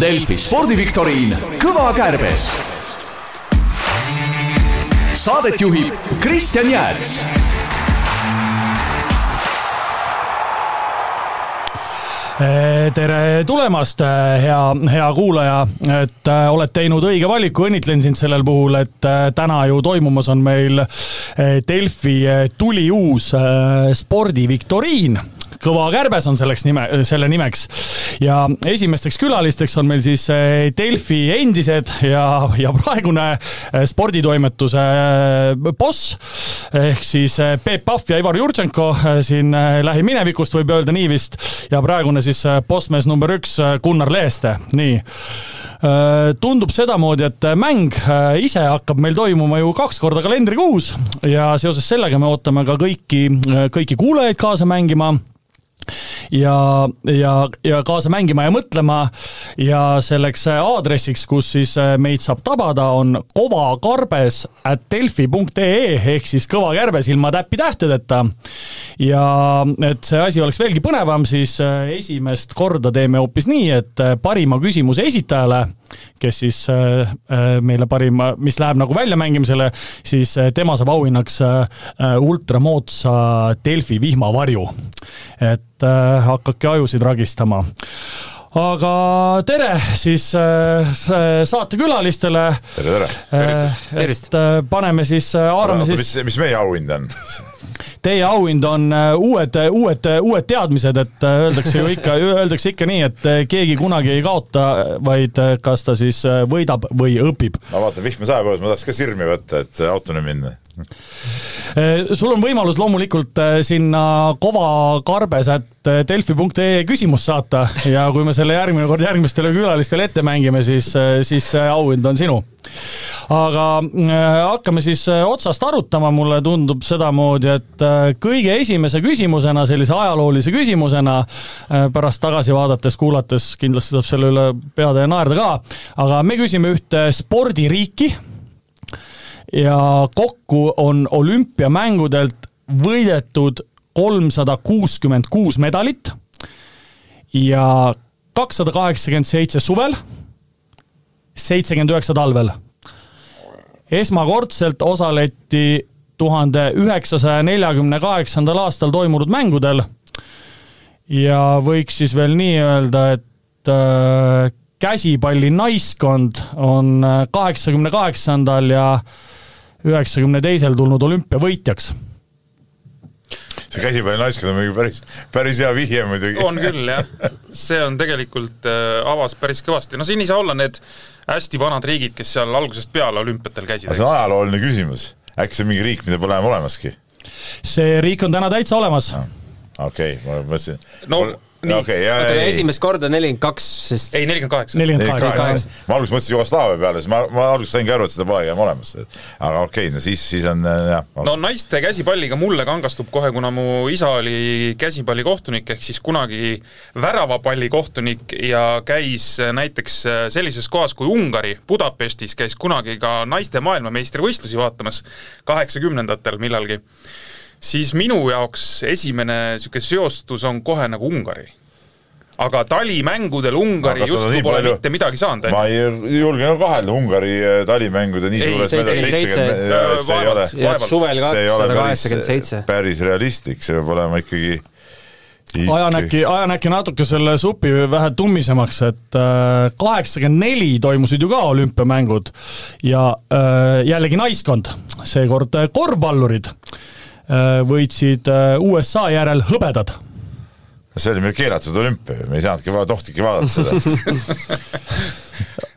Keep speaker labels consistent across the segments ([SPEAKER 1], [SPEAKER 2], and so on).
[SPEAKER 1] Delfi spordiviktoriin Kõva kärbes . Saadet juhib Kristjan Jääts .
[SPEAKER 2] Eh, tere tulemast , hea , hea kuulaja , et äh, oled teinud õige valiku , õnnitlen sind sellel puhul , et äh, täna ju toimumas on meil äh, Delfi äh, tuliuus äh, spordiviktoriin . kõva kärbes on selleks nime , selle nimeks ja esimesteks külalisteks on meil siis äh, Delfi endised ja , ja praegune äh, sporditoimetuse äh, boss ehk siis äh, Peep Pahv ja Ivar Jurtšenko äh, siin äh, lähiminevikust võib öelda nii vist ja praegune siis äh, bossmees number üks äh, Gunnar Leeste , nii . tundub sedamoodi , et äh, mäng äh, ise hakkab meil toimuma ju kaks korda kalendrikuus ja seoses sellega me ootame ka kõiki , kõiki kuulajaid kaasa mängima ja , ja , ja kaasa mängima ja mõtlema ja selleks äh, aadressiks , kus siis äh, meid saab tabada , on kovakarbes at delfi punkt ee ehk siis kõva kärbes ilma täppi tähtedeta . ja et see asi oleks veelgi põnevam , siis äh, esimest korda teeme hoopis nii , et äh, parima küsimuse esitajale , kes siis äh, äh, meile parima , mis läheb nagu väljamängimisele , siis äh, tema saab auhinnaks äh, äh, ultramoodsa Delfi vihmavarju . et äh, hakake ajusid ragistama . aga tere siis äh, s- saatekülalistele .
[SPEAKER 3] tere , tere .
[SPEAKER 2] tervist . et äh, paneme siis , haarame
[SPEAKER 3] oota ,
[SPEAKER 2] Äh, siis
[SPEAKER 3] mis ,, mis meie auhind on ?
[SPEAKER 2] teie auhind on äh, uued , uued , uued teadmised , et äh, öeldakse ju ikka , öeldakse ikka nii , et äh, keegi kunagi ei kaota , vaid äh, kas ta siis äh, võidab või õpib .
[SPEAKER 3] ma vaatan , vihma sajab õues , ma tahaks ka sirmi võtta , et autoni minna .
[SPEAKER 2] Äh, sul on võimalus loomulikult äh, sinna äh, kovakarbesätt.delfi.ee küsimus saata ja kui me selle järgmine kord järgmistele külalistele ette mängime , siis , siis see auhind on sinu . aga äh, hakkame siis äh, otsast arutama , mulle tundub sedamoodi , et äh, kõige esimese küsimusena , sellise ajaloolise küsimusena , pärast tagasi vaadates , kuulates kindlasti saab selle üle peada ja naerda ka , aga me küsime ühte spordiriiki ja kokku on olümpiamängudelt võidetud kolmsada kuuskümmend kuus medalit ja kakssada kaheksakümmend seitse suvel , seitsekümmend üheksa talvel . esmakordselt osaleti tuhande üheksasaja neljakümne kaheksandal aastal toimunud mängudel ja võiks siis veel nii öelda , et äh, käsipalli naiskond on äh, kaheksakümne kaheksandal ja üheksakümne teisel tulnud olümpiavõitjaks .
[SPEAKER 3] see käsipalli naiskond on mingi päris , päris hea vihje muidugi .
[SPEAKER 4] on küll jah , see on tegelikult äh, avas päris kõvasti , no siin ei saa olla need hästi vanad riigid , kes seal algusest peale olümpiatel käisid ,
[SPEAKER 3] aga see on ajalooline küsimus . äkki see on mingi riik , mida pole enam olemaski ?
[SPEAKER 2] see riik on täna täitsa olemas .
[SPEAKER 3] okei okay, , ma mõtlesin .
[SPEAKER 4] No nii.
[SPEAKER 3] okei , ja ,
[SPEAKER 5] oota ,
[SPEAKER 3] ja ,
[SPEAKER 5] esimest korda nelikümmend kaks , sest
[SPEAKER 4] ei nelikümmend kaheksa .
[SPEAKER 2] nelikümmend kaheksa .
[SPEAKER 3] ja . ma alguses mõtlesin Jugoslaavia peale , siis ma , ma alguses saingi aru , et seda polegi enam olemas . aga okei okay, , no siis , siis on äh, jah .
[SPEAKER 4] no naiste käsipalliga mulle kangastub kohe , kuna mu isa oli käsipallikohtunik ehk siis kunagi väravapallikohtunik ja käis näiteks sellises kohas kui Ungari , Budapestis käis kunagi ka naiste maailmameistrivõistlusi vaatamas kaheksakümnendatel millalgi , siis minu jaoks esimene niisugune seostus on kohe nagu Ungari . aga talimängudel Ungari
[SPEAKER 3] Aga seda
[SPEAKER 4] justkui
[SPEAKER 3] nii
[SPEAKER 4] pole
[SPEAKER 3] palju-
[SPEAKER 4] mitte midagi saanud , eh? on ju
[SPEAKER 3] ma ei julge nagu kahelda Ungari äh, talimängude nii
[SPEAKER 4] Ei,
[SPEAKER 3] suures
[SPEAKER 5] seitse- seitse-
[SPEAKER 3] seitsekümmend , see ei ole
[SPEAKER 4] Vaevalt.
[SPEAKER 5] ja suvel
[SPEAKER 3] see ei ole
[SPEAKER 5] kakssada
[SPEAKER 3] päris-
[SPEAKER 5] kaheksakümmend seitse .
[SPEAKER 3] päris realistlik , see peab olema ikkagi, ikkagi.
[SPEAKER 2] ajan äkki , ajan äkki natuke selle supi vähe tummisemaks , et äh, kaheksakümmend neli toimusid ju ka olümpiamängud ja äh, jällegi naiskond , seekord äh, korvpallurid äh, võitsid äh, USA järel hõbedad .
[SPEAKER 3] see oli meil keelatud olümpia , me ei saanudki , tohtigi vaadata seda .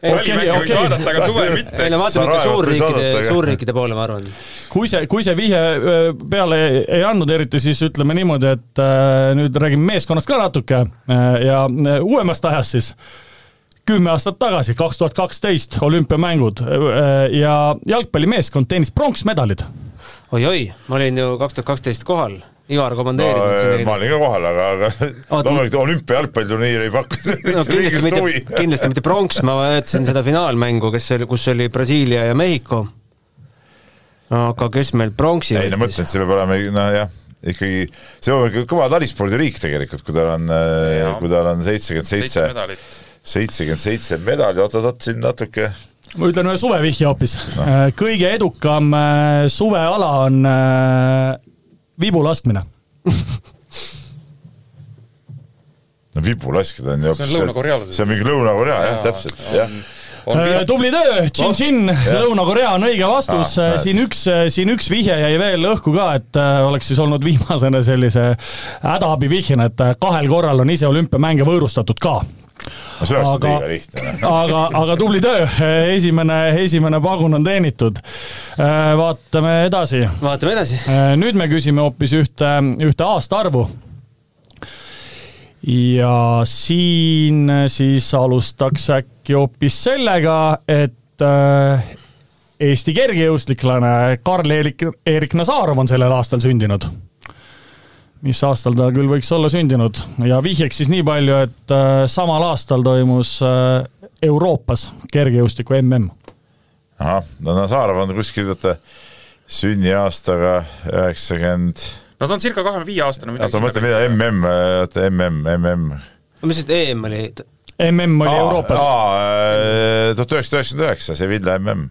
[SPEAKER 4] talimänge võiks vaadata , aga suvel mitte
[SPEAKER 5] ei . no
[SPEAKER 3] Sa
[SPEAKER 5] vaatame ikka
[SPEAKER 3] raevalt ei saadata,
[SPEAKER 5] suurriikide
[SPEAKER 3] aga- ,
[SPEAKER 5] suurriikide poole , ma arvan .
[SPEAKER 2] kui see , kui see vihje öö, peale ei andnud eriti , siis ütleme niimoodi , et äh, nüüd räägime meeskonnast ka natuke äh, ja äh, uuemast ajast siis . kümme aastat tagasi , kaks tuhat kaksteist olümpiamängud äh, ja jalgpallimeeskond teenis pronksmedalid .
[SPEAKER 5] oi-oi , ma olin ju kaks tuhat kaksteist kohal , Ivar komandeeris mind siin
[SPEAKER 3] ma
[SPEAKER 5] kindlasti .
[SPEAKER 3] olin ka kohal , aga , aga
[SPEAKER 5] Oot,
[SPEAKER 3] loomulikult olümpiajalgpalliturniir ei pakku
[SPEAKER 5] no
[SPEAKER 3] mitte
[SPEAKER 5] kindlasti
[SPEAKER 3] mingit huvi
[SPEAKER 5] mitte ,. kindlasti mitte pronks , ma vaatasin seda finaalmängu , kes oli , kus oli Brasiilia ja Mehhiko . aga kes meil pronksi
[SPEAKER 3] ei no ma
[SPEAKER 5] võttis ?
[SPEAKER 3] mõtlen , et see peab olema , nojah , ikkagi , see on ikka kõva talispordiriik tegelikult , äh, kui tal on , kui tal on seitsekümmend
[SPEAKER 4] seitse
[SPEAKER 3] seitse
[SPEAKER 4] medalit .
[SPEAKER 3] seitsekümmend seitse medali , oot-oot-oot , siin natuke
[SPEAKER 2] ma ütlen ühe suvevihje hoopis no. . kõige edukam äh, suveala on äh, vibu laskmine .
[SPEAKER 3] no vibulaskjad on ju
[SPEAKER 4] See on lõunakorealased.
[SPEAKER 3] see on mingi Lõuna-Korea jah ,
[SPEAKER 4] Jaa,
[SPEAKER 3] täpselt , jah . Äh,
[SPEAKER 2] Äh, tubli töö , Chin-Chin , Lõuna-Korea on õige vastus
[SPEAKER 3] Ah,
[SPEAKER 2] ah, . siin üks , siin üks vihje jäi veel õhku ka , et äh, oleks siis olnud viimasena sellise hädaabi vihjena , et äh, kahel korral on ise olümpiamänge võõrustatud ka
[SPEAKER 3] no see oleks
[SPEAKER 2] Aga-
[SPEAKER 3] liiga lihtne .
[SPEAKER 2] aga , aga tubli töö , esimene , esimene pagun on teenitud . vaatame edasi
[SPEAKER 5] vaatame edasi .
[SPEAKER 2] Äh, nüüd me küsime hoopis ühte , ühte aastaarvu . ja siin siis alustaks äkki hoopis sellega , et äh, Eesti kergejõustiklane Karl-Erik Nazarov on sellel aastal sündinud . mis aastal ta küll võiks olla sündinud ja vihjeks siis nii palju , et äh, samal aastal toimus äh, Euroopas kergejõustiku mm .
[SPEAKER 3] ahah , no Nazarov on kuskil teate sünniaastaga üheksakümmend ,
[SPEAKER 4] no ta on circa kahekümne viie aastane
[SPEAKER 3] oota ma mõtlen , mida mm , oota mm , mm .
[SPEAKER 5] mis nüüd EM E oli ?
[SPEAKER 2] mm
[SPEAKER 3] Ah,
[SPEAKER 2] oli Euroopas .
[SPEAKER 3] äh, tuhat üheksasada üheksakümmend üheksa , Sevilla mm .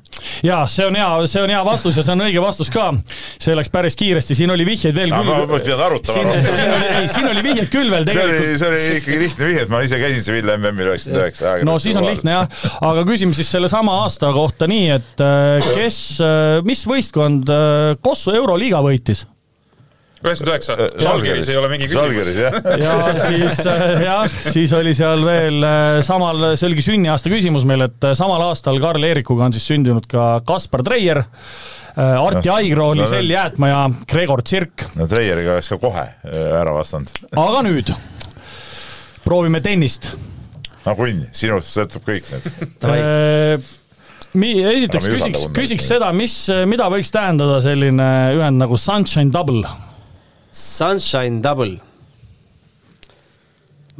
[SPEAKER 2] jaa , see on hea , see on hea vastus ja see on õige vastus ka . see läks päris kiiresti , siin oli vihjeid veel
[SPEAKER 3] aga ma ma oleks
[SPEAKER 2] küll .
[SPEAKER 3] pidanud arutama
[SPEAKER 2] siin ,
[SPEAKER 3] rohkem .
[SPEAKER 2] siin oli , ei , siin oli vihjeid küll veel
[SPEAKER 3] see oli ,
[SPEAKER 2] tegelikult .
[SPEAKER 3] see oli ikkagi lihtne vihje , et ma ise käisin Sevilla MM-il üheksakümmend üheksa .
[SPEAKER 2] no siis on lihtne jah , aga küsime siis sellesama aasta kohta nii , et äh, kes , mis võistkond äh, Kossu Euroliiga võitis ?
[SPEAKER 4] üheksakümmend üheksa , Žalgiris ei ole mingi
[SPEAKER 3] Žalgiris
[SPEAKER 4] küsimus .
[SPEAKER 3] Äh, jah .
[SPEAKER 2] ja siis äh, jah , siis oli seal veel äh, samal , see oligi sünniaasta küsimus meil , et äh, samal aastal Karl Eerikuga on siis sündinud ka Kaspar Treier , Arti
[SPEAKER 3] Jah,
[SPEAKER 2] Aigro oli
[SPEAKER 3] no
[SPEAKER 2] sel
[SPEAKER 3] need-
[SPEAKER 2] jäätmaja , Gregor Tsirk
[SPEAKER 3] no Treieriga oleks ka kohe äh, ära vastanud .
[SPEAKER 2] aga nüüd proovime tennist .
[SPEAKER 3] no kunn , sinust sõltub kõik nüüd .
[SPEAKER 2] Äh, Mi- , esiteks
[SPEAKER 3] Aga me ei
[SPEAKER 2] küsiks
[SPEAKER 3] usalda ,
[SPEAKER 2] küsiks
[SPEAKER 3] Unnarit.
[SPEAKER 2] seda , mis , mida võiks tähendada selline ühend nagu sunshine double .
[SPEAKER 5] Sunshine Double .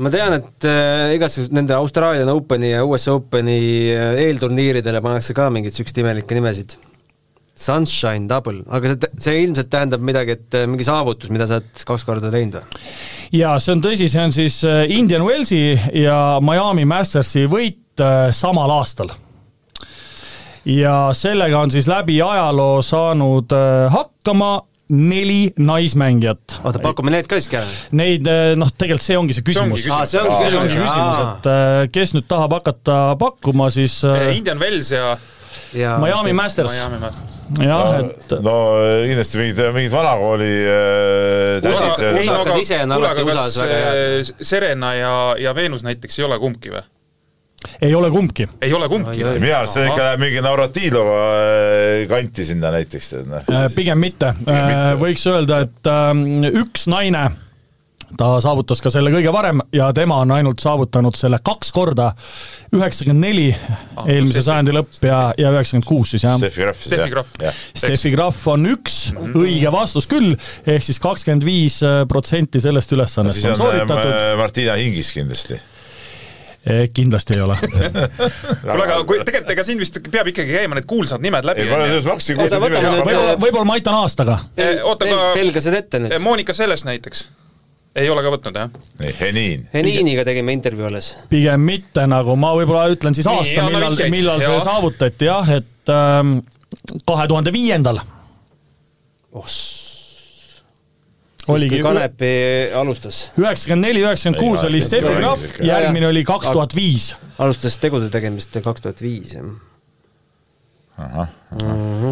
[SPEAKER 5] ma tean , et äh, igasugused nende Austraalia Openi ja USA Openi äh, eelturniiridele pannakse ka mingeid siukseid imelikke nimesid . Sunshine Double , aga see , see ilmselt tähendab midagi , et äh, mingi saavutus , mida sa oled kaks korda teinud või ?
[SPEAKER 2] ja see on tõsi , see on siis äh, Indian Wellsi ja Miami Mastersi võit äh, samal aastal . ja sellega on siis läbi ajaloo saanud äh, hakkama neli naismängijat .
[SPEAKER 5] oota , pakume need ka siiski ära .
[SPEAKER 2] Neid äh, noh , tegelikult see ongi see
[SPEAKER 4] See ongi
[SPEAKER 2] küsimus .
[SPEAKER 4] küsimus. Aa,
[SPEAKER 5] see ongi
[SPEAKER 2] see ongi
[SPEAKER 5] küsimus ,
[SPEAKER 2] küsimus , et äh, kes nüüd tahab hakata pakkuma , siis äh,
[SPEAKER 4] Indian Wells ja
[SPEAKER 5] ja
[SPEAKER 2] Miami Masters ,
[SPEAKER 4] Miami Masters .
[SPEAKER 2] jah , et
[SPEAKER 3] no äh, kindlasti mingid , mingid vanakooli äh, tädid
[SPEAKER 5] USA- . Osakad ise on alati USA-s väga
[SPEAKER 4] äh, Serena ja , ja Veenus näiteks ei ole kumbki või ?
[SPEAKER 2] ei ole kumbki .
[SPEAKER 4] ei ole kumbki
[SPEAKER 5] Oi, oi.
[SPEAKER 4] või ?
[SPEAKER 3] mina arvasin , et ikka läheb mingi Navratilova äh, kanti sinna näiteks . noh,
[SPEAKER 2] Äh, pigem mitte
[SPEAKER 3] Pigem mitte. ,
[SPEAKER 2] võiks öelda , et äh, üks naine , ta saavutas ka selle kõige varem ja tema on ainult saavutanud selle kaks korda , üheksakümmend neli eelmise
[SPEAKER 4] Steffi-
[SPEAKER 2] sajandi lõpp ja , ja üheksakümmend kuus siis jah .
[SPEAKER 3] Ah, Steffi Mhm. Graf siis
[SPEAKER 4] Steffi
[SPEAKER 3] jah
[SPEAKER 4] Graf.
[SPEAKER 3] jah.
[SPEAKER 2] Steffi Graf on üks õige vastus küll , ehk siis kakskümmend viis äh, protsenti sellest
[SPEAKER 3] no
[SPEAKER 2] ülesannest
[SPEAKER 3] siis
[SPEAKER 2] on
[SPEAKER 3] on äh,
[SPEAKER 2] sooritatud ,
[SPEAKER 3] Martina Hingis kindlasti .
[SPEAKER 2] kindlasti ei ole
[SPEAKER 4] kuule , aga kui tegelikult ega siin vist peab ikkagi käima need kuulsad nimed läbi
[SPEAKER 3] ei , ma . just hakkasin kuulda
[SPEAKER 5] Oota, võtame
[SPEAKER 3] nime
[SPEAKER 5] nüüd-
[SPEAKER 2] võib-olla , võib-olla ma aitan aastaga .
[SPEAKER 4] oota , aga
[SPEAKER 5] pelgasid ette
[SPEAKER 2] Eh,
[SPEAKER 5] nüüd .
[SPEAKER 4] Äh, Monika Seles näiteks ei ole ka võtnud , jah ?
[SPEAKER 3] nii , Heniin .
[SPEAKER 5] Heniiniga tegime intervjuu alles .
[SPEAKER 2] pigem mitte , nagu ma võib-olla ütlen siis
[SPEAKER 4] Nii,
[SPEAKER 2] aasta ,
[SPEAKER 4] anna
[SPEAKER 2] millal ,
[SPEAKER 4] vihjeid.
[SPEAKER 2] millal see
[SPEAKER 4] Jaa.
[SPEAKER 2] saavutati jah , et ähm, kahe tuhande viiendal
[SPEAKER 5] siis
[SPEAKER 2] oligi
[SPEAKER 5] kui Kanepi alustas ,
[SPEAKER 2] üheksakümmend neli , üheksakümmend kuus
[SPEAKER 3] Ei,
[SPEAKER 2] oli
[SPEAKER 3] see
[SPEAKER 2] Steffi
[SPEAKER 3] oli
[SPEAKER 2] Graf
[SPEAKER 3] ikka. ,
[SPEAKER 2] järgmine oli kaks tuhat viis .
[SPEAKER 5] alustas tegude tegemist kaks tuhat viis , jah Mhm.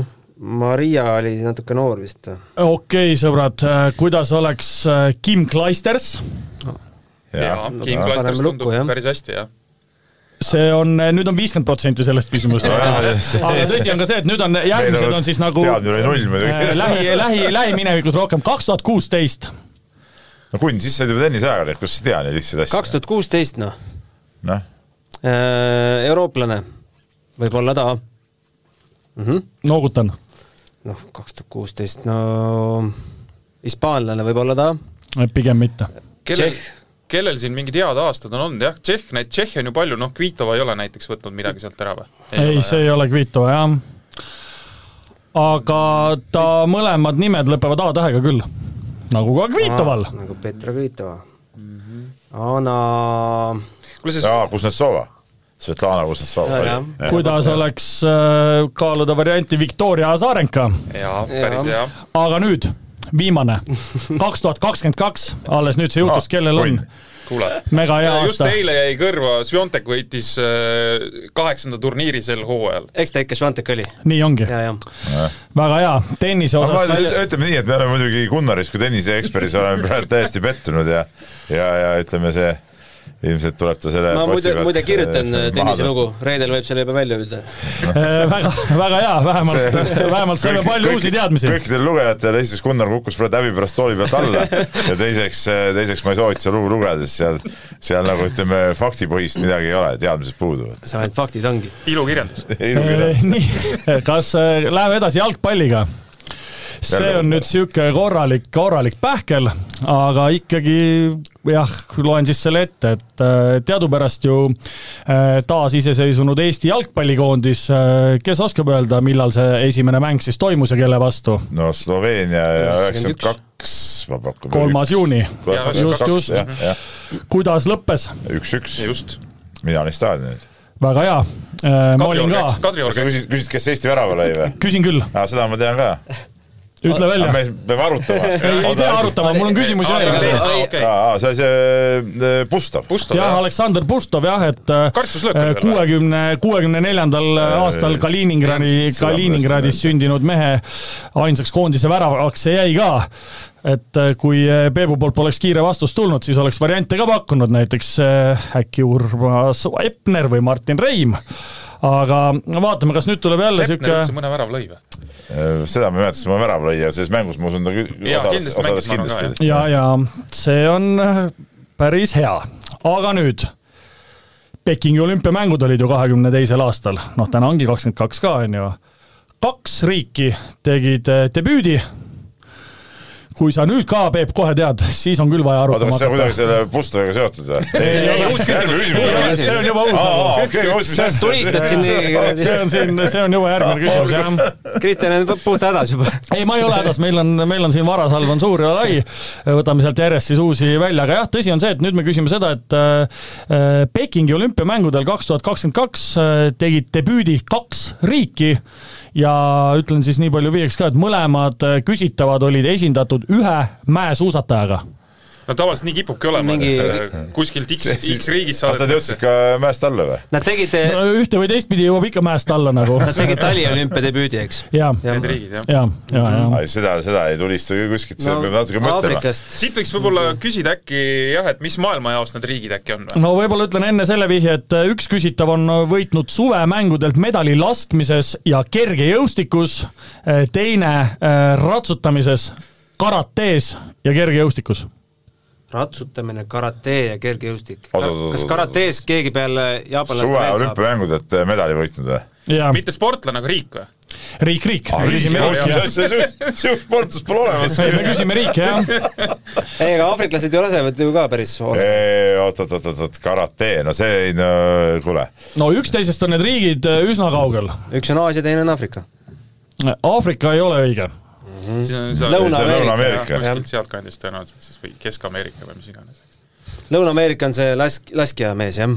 [SPEAKER 5] Maria oli siis natuke noor vist või ?
[SPEAKER 2] okei , sõbrad , kuidas oleks äh, Kim Clijsters ?
[SPEAKER 4] jaa , Kim
[SPEAKER 5] Paneme
[SPEAKER 4] Clijsters
[SPEAKER 5] lukku,
[SPEAKER 4] tundub
[SPEAKER 5] jah.
[SPEAKER 4] päris hästi , jah .
[SPEAKER 2] see on , nüüd on viiskümmend protsenti sellest küsimusest . aga tõsi on ka see , et nüüd on järgmised on siis nagu
[SPEAKER 3] teadmine oli null
[SPEAKER 2] äh,
[SPEAKER 3] muidugi .
[SPEAKER 2] lähi , lähi , lähiminevikus rohkem , kaks tuhat kuusteist
[SPEAKER 3] no kunn , siis said juba tenniseajakirjad , kus sa tead neid lihtsaid asju .
[SPEAKER 5] kaks tuhat kuusteist , noh ,
[SPEAKER 3] noh ,
[SPEAKER 5] eurooplane , võib-olla ta mm . -hmm.
[SPEAKER 2] noogutan .
[SPEAKER 5] noh , kaks tuhat kuusteist , no hispaanlane võib-olla ta ,
[SPEAKER 2] pigem mitte .
[SPEAKER 4] kellel
[SPEAKER 5] Tšehh. ,
[SPEAKER 4] kellel siin mingid head aastad on olnud , jah , Tšehh , neid Tšehhe on ju palju , noh , Kvitova ei ole näiteks võtnud midagi sealt ära või ?
[SPEAKER 2] ei , see ei ole Kvito , jah . aga ta mõlemad nimed lõpevad A-tähega küll ,
[SPEAKER 5] Ah,
[SPEAKER 2] nagu ka Kvitoval .
[SPEAKER 5] Mhm. nagu Petra Kvitova mm . -hmm. Ana ,
[SPEAKER 4] kuule see
[SPEAKER 3] aa , Kuznetsova , Svetlana Kuznetsova
[SPEAKER 5] Jaa, .
[SPEAKER 2] kuidas oleks äh, kaaluda varianti Viktoria Azarenka ,
[SPEAKER 4] jaa , päris hea
[SPEAKER 5] Jaa. .
[SPEAKER 2] aga nüüd viimane , kaks tuhat kakskümmend kaks , alles nüüd see
[SPEAKER 3] Ah,
[SPEAKER 2] juhtus , kellel on
[SPEAKER 4] kuule ,
[SPEAKER 2] mega hea
[SPEAKER 4] just
[SPEAKER 2] aasta .
[SPEAKER 4] eile jäi kõrva , Svjontek võitis äh, kaheksanda turniiri sel hooajal .
[SPEAKER 5] eks ta ikka Švantek oli
[SPEAKER 2] nii ongi ,
[SPEAKER 5] ja , ja
[SPEAKER 2] väga hea , tennise
[SPEAKER 3] aga ma ütlen-
[SPEAKER 2] osas
[SPEAKER 3] ütleme nii , et me oleme muidugi Gunnaris kui tenniseeksperdis oleme praegu täiesti pettunud ja , ja , ja ütleme see ilmselt tuleb ta selle
[SPEAKER 5] ma muide ,
[SPEAKER 3] postiga- eh,
[SPEAKER 5] muide kirjutan
[SPEAKER 3] Äh,
[SPEAKER 5] eh,
[SPEAKER 3] maha
[SPEAKER 5] tennise
[SPEAKER 3] tõmb-
[SPEAKER 5] lugu , reedel võib selle juba välja öelda .
[SPEAKER 2] äh, väga , väga hea , vähemalt , vähemalt saime
[SPEAKER 3] Kõik-
[SPEAKER 2] palju
[SPEAKER 3] kõik-
[SPEAKER 2] uusi teadmisi .
[SPEAKER 3] kõikidel lugejatel , esiteks Gunnar kukkus praegu häbi pärast tooli pealt alla ja teiseks , teiseks ma ei soovita seda lugu lugeda , sest seal , seal nagu ütleme , faktipõhist midagi ei ole , teadmised puuduvad .
[SPEAKER 5] sa ainult faktid ongi .
[SPEAKER 4] ilukirjandus .
[SPEAKER 2] Äh, nii , kas äh, läheme edasi jalgpalliga ? see
[SPEAKER 3] Jälle
[SPEAKER 2] on nüüd sihuke korralik , korralik pähkel , aga ikkagi jah , loen siis selle ette , et äh, teadupärast ju äh, taasiseseisvunud Eesti jalgpallikoondis , kes oskab öelda , millal see esimene mäng siis toimus ja kelle vastu ?
[SPEAKER 3] no Sloveenia ja üheksakümmend
[SPEAKER 5] 91.
[SPEAKER 3] kaks , ma pakun .
[SPEAKER 2] kolmas juuni ,
[SPEAKER 4] Just,
[SPEAKER 2] just.
[SPEAKER 3] jah , jah ,
[SPEAKER 2] kuidas lõppes ?
[SPEAKER 3] üks-üks ,
[SPEAKER 4] just .
[SPEAKER 3] mina olin staadionil .
[SPEAKER 2] väga hea , ma olin ka ,
[SPEAKER 4] Kadriorg
[SPEAKER 3] sa
[SPEAKER 4] läks ,
[SPEAKER 3] küsid , küsid , kes Eesti värava lõi või ?
[SPEAKER 2] küsin küll ,
[SPEAKER 3] aa , seda ma tean ka .
[SPEAKER 2] ütle välja .
[SPEAKER 3] me peame arutama .
[SPEAKER 2] ei , ei pea . arutama , mul on küsimusi
[SPEAKER 4] Kadriorg
[SPEAKER 5] Kadri-
[SPEAKER 2] veel .
[SPEAKER 4] läks ,
[SPEAKER 5] Ai-
[SPEAKER 4] okei ,
[SPEAKER 3] aa , see , see äh, Pustov .
[SPEAKER 4] Pustov
[SPEAKER 2] jah ,
[SPEAKER 4] jah ,
[SPEAKER 2] Aleksander Pustov jah , et äh,
[SPEAKER 4] Kartsuslöök oli veel
[SPEAKER 2] kuuekümne , kuuekümne neljandal aastal Kaliningradi ,
[SPEAKER 3] Jah,
[SPEAKER 2] Kaliningradis
[SPEAKER 3] südamest.
[SPEAKER 2] sündinud mehe ainsaks koondise väravaks see jäi ka . et äh, kui äh, Peebu poolt poleks kiire vastus tulnud , siis oleks variante ka pakkunud , näiteks äh, äkki Urmas Epner või Martin Reim . aga no vaatame , kas nüüd tuleb jälle
[SPEAKER 4] Seppner
[SPEAKER 2] sihuke
[SPEAKER 4] üldse mõne värava lõi või ?
[SPEAKER 3] Äh, seda ma ei mäleta , sest ma olen värav lõi ja selles mängus ma usun , ta kü-
[SPEAKER 4] Jaa,
[SPEAKER 3] osales ,
[SPEAKER 4] kindlasti mängis,
[SPEAKER 3] osales
[SPEAKER 4] ma arvan ka,
[SPEAKER 3] kindlasti .
[SPEAKER 2] ja , ja see on äh, päris hea , aga nüüd . Pekingi olümpiamängud olid ju kahekümne teisel aastal , noh täna ongi kakskümmend kaks ka , on ju . kaks riiki tegid äh, debüüdi . kui sa nüüd ka , Peep , kohe tead , siis on küll vaja
[SPEAKER 3] oota ,
[SPEAKER 2] arutama
[SPEAKER 3] kas see on kuidagi
[SPEAKER 2] hakata .
[SPEAKER 3] selle Pustoviga seotud või ?
[SPEAKER 2] Ei, ei, uus
[SPEAKER 3] küsimus .
[SPEAKER 2] see on juba uus
[SPEAKER 3] aa ,
[SPEAKER 2] asi .
[SPEAKER 3] okei , uus küsimus .
[SPEAKER 5] tulistad siin nii ,
[SPEAKER 2] see on siin , see on juba järgmine küsimus , jah
[SPEAKER 5] Kristjan on pu- puht hädas juba .
[SPEAKER 2] ei , ma ei ole hädas , meil on , meil on siin varasalv on suur ja lai , võtame sealt järjest siis uusi välja , aga jah , tõsi on see , et nüüd me küsime seda , et äh, Pekingi olümpiamängudel kaks tuhat kakskümmend kaks äh, tegid debüüdi kaks riiki ja ütlen siis nii palju viieks ka , et mõlemad äh, küsitavad olid esindatud ühe mäesuusatajaga .
[SPEAKER 4] no tavaliselt nii kipubki olema ,
[SPEAKER 5] Mingi-
[SPEAKER 4] et äh, kuskilt X , X riigist
[SPEAKER 3] kas nad
[SPEAKER 4] saadetakse
[SPEAKER 3] jõudsid . ka mäest alla või ?
[SPEAKER 5] Nad tegid , äh,
[SPEAKER 2] ühte või teistpidi jõuab ikka mäest alla nagu
[SPEAKER 5] nad tegid taliolümpia debüüdi , eks ?
[SPEAKER 2] ja , ja ,
[SPEAKER 4] Need riigid jah .
[SPEAKER 2] ja , ja ,
[SPEAKER 3] ei , seda , seda ei tulista ju kuskilt , see peab natuke mõtlema .
[SPEAKER 5] Aafrikast .
[SPEAKER 4] siit võiks võib-olla küsida äkki jah , et mis maailmajaos need riigid äkki on või ?
[SPEAKER 2] no võib-olla ütlen enne selle vihje , et äh, üks küsitav on võitnud suvemängudelt medali laskmises ja kergejõustikus , teine äh, ratsutamises , karates ja kergejõustikus .
[SPEAKER 5] ratsutamine , karate ja kergejõustik .
[SPEAKER 3] Oot, oot, oot,
[SPEAKER 5] kas
[SPEAKER 3] oot,
[SPEAKER 5] karates keegi peale jaapanlaste
[SPEAKER 3] suve
[SPEAKER 5] veel saab ?
[SPEAKER 3] olümpiamängudelt medali võitnud või ?
[SPEAKER 2] ja
[SPEAKER 4] mitte sportlane , aga riik või ?
[SPEAKER 2] riik , riik .
[SPEAKER 4] jaa, jaa.
[SPEAKER 3] sihukest sportlast pole olemas .
[SPEAKER 2] me küsime riike jah ,
[SPEAKER 5] ei , aga aafriklased ju lasevad ju ka päris hoo-
[SPEAKER 3] oot , oot , oot , oot , oot , karate , no see ei no kuule ,
[SPEAKER 2] no üksteisest on need riigid äh, üsna kaugel .
[SPEAKER 5] üks on Aasia , teine on Aafrika .
[SPEAKER 2] Aafrika ei ole õige .
[SPEAKER 3] Mm. Lõuna-Ameerika.
[SPEAKER 4] kuskilt sealtkandist tõenäoliselt siis või Kesk-Ameerika või mis iganes .
[SPEAKER 5] Lõuna-Ameerika on see lask- , laskja mees , jah ?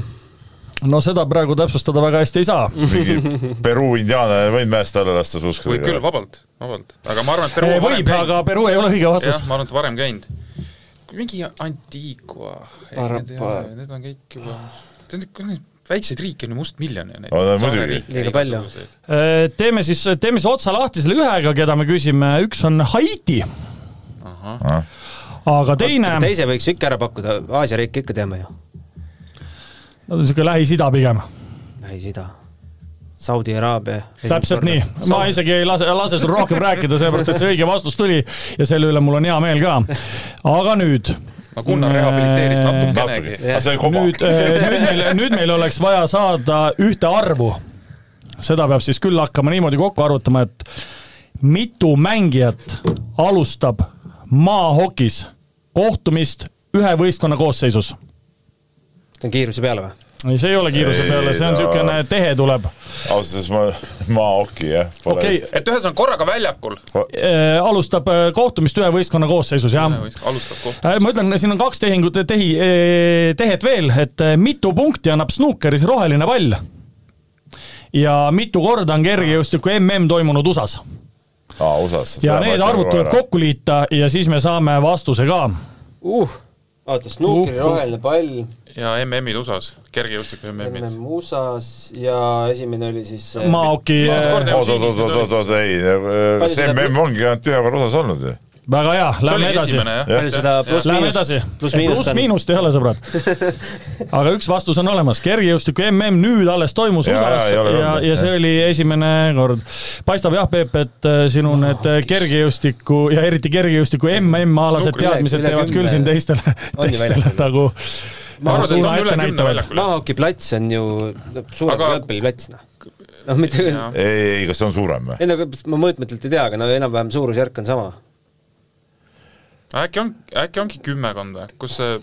[SPEAKER 2] no seda praegu täpsustada väga hästi ei saa .
[SPEAKER 3] mingi Peru indiaanlane võib mäest alla lasta suuskadega .
[SPEAKER 4] võib küll , vabalt , vabalt , aga ma arvan , et Peru on varem
[SPEAKER 2] võib ,
[SPEAKER 4] käinud.
[SPEAKER 2] aga Peru ei ole õige vastus
[SPEAKER 4] jah , ma arvan , et varem käinud . mingi Antigua , need ei ole
[SPEAKER 5] Barba- ,
[SPEAKER 4] need on kõik juba , tead , kui neid väikseid riike on ju mustmiljon ju neid
[SPEAKER 3] On, on muidugi.
[SPEAKER 5] Liiga palju. .
[SPEAKER 2] Äh, teeme siis , teeme siis otsa lahti selle ühega , keda me küsime , üks on Haiti .
[SPEAKER 3] Ah.
[SPEAKER 2] aga teine ,
[SPEAKER 5] teise võiks ju ikka ära pakkuda , Aasia riike ikka teame ju .
[SPEAKER 2] niisugune Lähis-Ida pigem ,
[SPEAKER 5] Lähis-Ida , Saudi Araabia .
[SPEAKER 2] täpselt nii . ma isegi ei lase , lase sul rohkem rääkida , sellepärast et see õige vastus tuli ja selle üle mul on hea meel ka . aga nüüd ,
[SPEAKER 4] no Gunnar rehabiliteeris
[SPEAKER 3] natuke ,
[SPEAKER 4] natukenegi .
[SPEAKER 3] aga see oli kobar .
[SPEAKER 2] nüüd , äh, nüüd meil , nüüd meil oleks vaja saada ühte arvu . seda peab siis küll hakkama niimoodi kokku arvutama , et mitu mängijat alustab maahokis kohtumist ühe võistkonna koosseisus
[SPEAKER 5] see on kiiruse peale või ?
[SPEAKER 2] ei , see ei ole kiiruse
[SPEAKER 3] Ei,
[SPEAKER 2] peale , see on
[SPEAKER 3] no.
[SPEAKER 2] niisugune tehe tuleb .
[SPEAKER 3] ausalt öeldes ma , ma okei jah .
[SPEAKER 2] Okei.
[SPEAKER 4] et ühesõnaga korraga väljakul
[SPEAKER 2] alustab äh, kohtumist ühe võistkonna koosseisus , jah ?
[SPEAKER 4] alustab kohtumine .
[SPEAKER 2] ma ütlen , siin on kaks tehingut , tehi , tehet veel , et äh, mitu punkti annab snuukeris roheline pall . ja mitu korda on kergejõustiku MM toimunud USA-s .
[SPEAKER 3] aa , Ah, USA-s .
[SPEAKER 2] ja need arvud tuleb . kokku liita ja siis me saame vastuse ka .
[SPEAKER 5] uh , vaata , snuukri
[SPEAKER 2] Uh, uh.
[SPEAKER 5] roheline pall ,
[SPEAKER 4] ja MM-id USA-s , kergejõustiku MM-id .
[SPEAKER 5] MM USA-s ja esimene oli siis
[SPEAKER 2] Maoki äh,
[SPEAKER 4] Korda-
[SPEAKER 3] oot , oot , oot , oot , oot , oot , ei , kas
[SPEAKER 5] seda-
[SPEAKER 3] MM ongi ainult ühe korra osas olnud ju ?
[SPEAKER 2] väga hea ,
[SPEAKER 4] see
[SPEAKER 2] lähme
[SPEAKER 4] oli
[SPEAKER 2] edasi
[SPEAKER 4] esimene jah ?
[SPEAKER 5] palju seda
[SPEAKER 2] Läheme
[SPEAKER 5] pluss-miinust
[SPEAKER 2] edasi ,
[SPEAKER 5] pluss-miinust on?
[SPEAKER 2] pluss-miinust ei ole , sõbrad . aga üks vastus on olemas , kergejõustiku MM nüüd alles toimus
[SPEAKER 3] Jaa,
[SPEAKER 2] USA-s
[SPEAKER 3] jaa, ei
[SPEAKER 2] ja
[SPEAKER 3] ole ,
[SPEAKER 2] ja,
[SPEAKER 3] olnud,
[SPEAKER 2] ja see
[SPEAKER 3] jah.
[SPEAKER 2] oli esimene kord . paistab jah , Peep , et äh, sinu need äh, kergejõustiku ja eriti kergejõustiku MM-alased
[SPEAKER 4] Snukris
[SPEAKER 2] teadmised
[SPEAKER 5] üle- üle
[SPEAKER 2] teevad küll
[SPEAKER 5] kümne.
[SPEAKER 2] siin teistele ,
[SPEAKER 5] On ju
[SPEAKER 2] teistele
[SPEAKER 5] väljakul?
[SPEAKER 2] nagu
[SPEAKER 4] ma arvan , et
[SPEAKER 2] suuna
[SPEAKER 4] on
[SPEAKER 2] ette
[SPEAKER 4] üle kümne
[SPEAKER 2] näitavad .
[SPEAKER 4] väljakul .
[SPEAKER 5] Mahoki plats on ju no, suurem
[SPEAKER 4] Aga-
[SPEAKER 5] kui jalgpalliplats , noh . noh , mitte küll ,
[SPEAKER 4] Jaa.
[SPEAKER 3] ei , ei , kas see on suurem või ?
[SPEAKER 5] ei no ma mõõtmetelt ei tea , aga no enam-vähem suurusjärk on sama .
[SPEAKER 4] äkki on , äkki ongi kümmekond või , kus see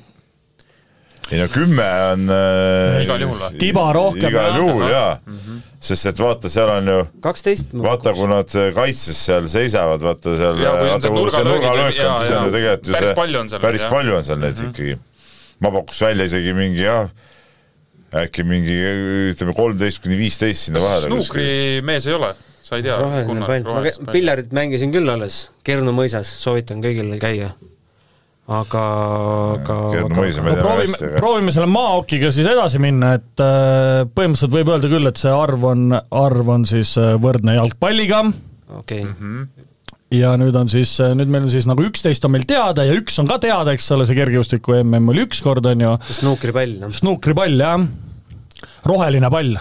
[SPEAKER 3] ei no kümme on äh,
[SPEAKER 4] Igal juhul või? Mhm.
[SPEAKER 2] Tiba rohkem, jah.
[SPEAKER 3] igal juhul jaa mm , -hmm. sest et vaata , seal on ju ,
[SPEAKER 5] kaksteist
[SPEAKER 3] vaata , kui nad äh, kaitses seal seisavad , vaata seal ,
[SPEAKER 4] Jaa, kui on
[SPEAKER 3] vaata
[SPEAKER 4] see
[SPEAKER 3] kui see
[SPEAKER 4] nurgalöögid
[SPEAKER 3] nurgalöök
[SPEAKER 4] või-
[SPEAKER 3] on ,
[SPEAKER 4] jaa,
[SPEAKER 3] siis on
[SPEAKER 4] jaa.
[SPEAKER 3] ju tegelikult ju
[SPEAKER 4] Päris
[SPEAKER 3] see
[SPEAKER 4] palju on seal neid,
[SPEAKER 3] päris
[SPEAKER 4] jah. Mhm.
[SPEAKER 3] palju on seal neid ikkagi . ma pakuks välja isegi mingi jah , äkki mingi ütleme kolmteist kuni viisteist sinna
[SPEAKER 4] kas
[SPEAKER 3] vahele .
[SPEAKER 4] snuukri mees ei ole ? sa ei tea ,
[SPEAKER 5] roheline pall , ma kä- pillarit mängisin küll alles Kernu mõisas , soovitan kõigil käia . aga , aga
[SPEAKER 3] Kernu
[SPEAKER 5] aga-
[SPEAKER 3] mõisa me
[SPEAKER 2] no
[SPEAKER 3] teame hästi ,
[SPEAKER 2] proovime ,
[SPEAKER 3] aga
[SPEAKER 2] proovime selle Maokiga siis edasi minna , et äh, põhimõtteliselt võib öelda küll , et see arv on , arv on siis äh, võrdne jalgpalliga
[SPEAKER 5] okei okay. ,
[SPEAKER 2] ja nüüd on siis , nüüd meil on siis nagu üksteist on meil teada ja üks on ka teada , eks ole , see kergejõustiku mm oli üks kord , on ju ,
[SPEAKER 5] snuukripall , noh .
[SPEAKER 2] snuukripall jah , roheline pall .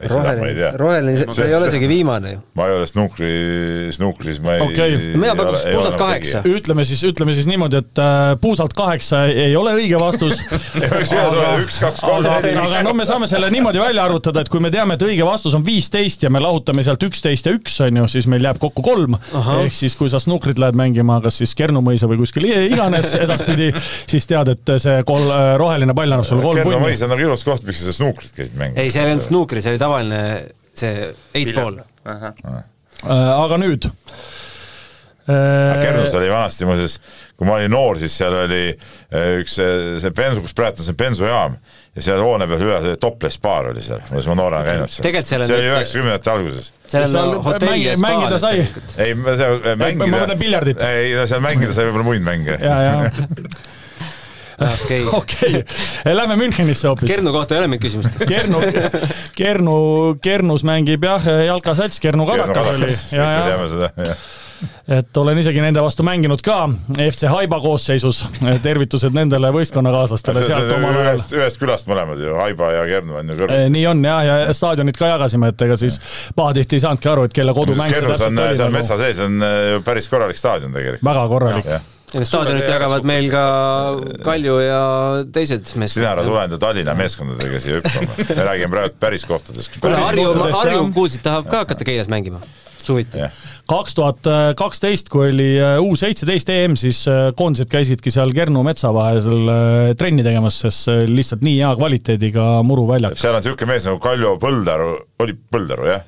[SPEAKER 3] ei, seda ma ei tea .
[SPEAKER 5] roheline , see ei ole isegi viimane ju .
[SPEAKER 3] ma ei ole snuukri , snuukris ma ei nagu
[SPEAKER 2] Okei.
[SPEAKER 5] Mina pakuks puusalt kaheksa.
[SPEAKER 2] ütleme siis , ütleme siis niimoodi , et äh, puusalt kaheksa ei ole õige vastus .
[SPEAKER 3] üks , kaks , kolm ,
[SPEAKER 2] aga ,
[SPEAKER 3] neli ,
[SPEAKER 2] aga no me saame selle niimoodi välja arvutada , et kui me teame , et õige vastus on viisteist ja me lahutame sealt üksteist ja üks , on ju , siis meil jääb kokku kolm .
[SPEAKER 5] Ahah.
[SPEAKER 2] ehk siis , kui sa snuukrit lähed mängima , kas siis Kernu mõisa või kuskil i- iganes edaspidi , siis tead , et see kol- , roheline pall annab sulle kolm
[SPEAKER 3] Kerno
[SPEAKER 2] punni
[SPEAKER 3] Maris on nagu ilus koht , miks sa seda snuukrit käisid mängimas .
[SPEAKER 5] ei , see ei olnud snuukri , see oli tavaline , see eight ball .
[SPEAKER 2] Äh, aga nüüd . Äh,
[SPEAKER 3] Kernus oli vanasti muuseas , kui ma olin noor , siis seal oli äh, üks äh, see bensu , kus praegu on see bensujaam ja seal hoone peal ühes oli topless baar oli seal , kus ma noorena käinud seal .
[SPEAKER 5] Tegelikult seal on
[SPEAKER 3] see oli
[SPEAKER 5] nüüd-
[SPEAKER 3] üheksakümnendate alguses .
[SPEAKER 5] seal
[SPEAKER 2] Seal
[SPEAKER 5] on hotelli
[SPEAKER 2] mängi-
[SPEAKER 5] ja spaa .
[SPEAKER 2] mängida sai.
[SPEAKER 3] ei , ma seal äh, mängida .
[SPEAKER 2] mõtlen piljardit.
[SPEAKER 3] ei , no seal mängida sai võib-olla muid mänge .
[SPEAKER 2] ja , ja
[SPEAKER 5] okei okay. ,
[SPEAKER 2] okei , lähme Münchenisse hoopis .
[SPEAKER 5] Kernu kohta ei ole mingit küsimust .
[SPEAKER 2] Kernu , Kernu , Kernus mängib jah , jalkasats , Kernu kadakas oli ja ,
[SPEAKER 3] me
[SPEAKER 2] ja
[SPEAKER 3] teame seda , jah .
[SPEAKER 2] et olen isegi nende vastu mänginud ka FC Haiba koosseisus . tervitused nendele võistkonnakaaslastele sealt omal ajal .
[SPEAKER 3] ühest , ühest külast mõlemad ju , Haiba ja Kernu on ju kõrval .
[SPEAKER 2] nii on ja , ja staadionit ka jagasime , et ega siis pahatihti ei saanudki aru , et kelle kodumäng see
[SPEAKER 3] Kernus on äh,
[SPEAKER 2] täpselt nagu.
[SPEAKER 3] seal
[SPEAKER 2] oli .
[SPEAKER 3] metsa sees on äh, ju päris korralik staadion tegelikult .
[SPEAKER 2] väga korralik .
[SPEAKER 5] staadionit
[SPEAKER 4] Suure
[SPEAKER 5] jagavad meil ka Kalju ja teised mees- .
[SPEAKER 3] sina ära tule enda Tallinna meeskondadega siia hüppama , me räägime praegu päris kohtadest .
[SPEAKER 5] kuule , Harju ,
[SPEAKER 2] kohtadest,
[SPEAKER 5] Harju
[SPEAKER 2] jah.
[SPEAKER 5] kuulsid , tahab ka hakata Keilas mängima . suvitav .
[SPEAKER 2] kaks tuhat kaksteist , kui oli äh, U seitseteist EM , siis äh, koondised käisidki seal Kernu metsa vahel seal äh, trenni tegemas , sest see oli lihtsalt nii hea kvaliteediga muruväljak .
[SPEAKER 3] seal on niisugune mees nagu Kaljo Põldaru , oli Põldaru jah ?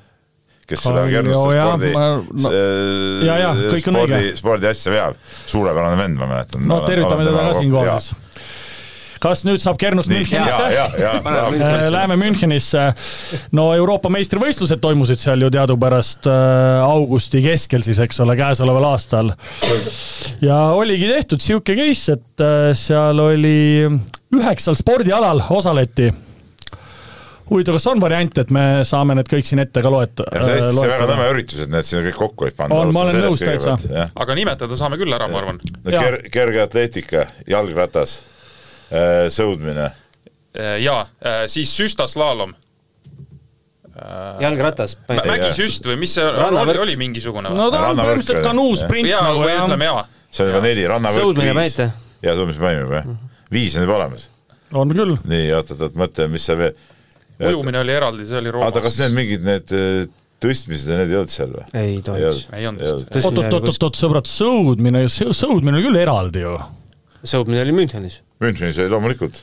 [SPEAKER 3] kes seda
[SPEAKER 2] Kaljo,
[SPEAKER 3] Kernusse
[SPEAKER 2] jah,
[SPEAKER 3] spordi
[SPEAKER 2] ma- , no-
[SPEAKER 3] s-
[SPEAKER 2] Jaa, jaa, kõik on
[SPEAKER 3] spordi
[SPEAKER 2] õige. ,
[SPEAKER 3] spordi asja veab . suurepärane vend , ma mäletan .
[SPEAKER 2] no Noh, tervitame teda ka siinkohal siis . kas nüüd saab Kernust
[SPEAKER 3] ja , ja ,
[SPEAKER 2] Münchenisse ?
[SPEAKER 3] ja , ja , ja ,
[SPEAKER 2] Äh, Läheme Münchenisse . no Euroopa meistrivõistlused toimusid seal ju teadupärast äh, augusti keskel siis , eks ole , käesoleval aastal . ja oligi tehtud sihuke case , et äh, seal oli üheksal spordialal osaleti . huvitav , kas on variant , et me saame need kõik siin ette ka loeta- ?
[SPEAKER 3] see on Eestis väga nõme üritus , et need sinna kõik kokku olid pandud .
[SPEAKER 2] äh, On, ma olen nõus täitsa. .
[SPEAKER 4] aga nimetada saame küll ära , ma arvan .
[SPEAKER 3] no
[SPEAKER 2] Jaa.
[SPEAKER 3] ker- , kergeatleetika , jalgratas , sõudmine ,
[SPEAKER 4] Äh, jaa , siis süstaslaalom .
[SPEAKER 5] jalgratas .
[SPEAKER 4] mägisüst või mis see oli,
[SPEAKER 5] Rannavõrk.
[SPEAKER 4] oli mingisugune või
[SPEAKER 2] no ? ta on
[SPEAKER 3] Rannavõrk
[SPEAKER 2] põhimõtteliselt
[SPEAKER 3] või?
[SPEAKER 2] kanuusprint
[SPEAKER 4] jaa ,
[SPEAKER 2] nagu
[SPEAKER 4] või ütleme jaa .
[SPEAKER 3] see on juba neli , rannavõrk ,
[SPEAKER 5] Sõudmine
[SPEAKER 3] viis
[SPEAKER 5] panite? .
[SPEAKER 3] ja sõudmise panime või ? viis on juba olemis .
[SPEAKER 2] on küll .
[SPEAKER 3] nii , oot-oot-oot , mõtle , mis see veel .
[SPEAKER 4] ujumine oli eraldi , see oli
[SPEAKER 3] oota , kas
[SPEAKER 4] Roomas .
[SPEAKER 3] need mingid need eh, tõstmised ja need ei olnud seal või ?
[SPEAKER 5] ei tohiks .
[SPEAKER 4] ei olnud vist .
[SPEAKER 2] oot-oot-oot-oot , sõbrad , sõudmine , sõudmine oli küll eraldi ju
[SPEAKER 5] sõudmine oli Münchenis .
[SPEAKER 3] Münchenis oli loomulikult ,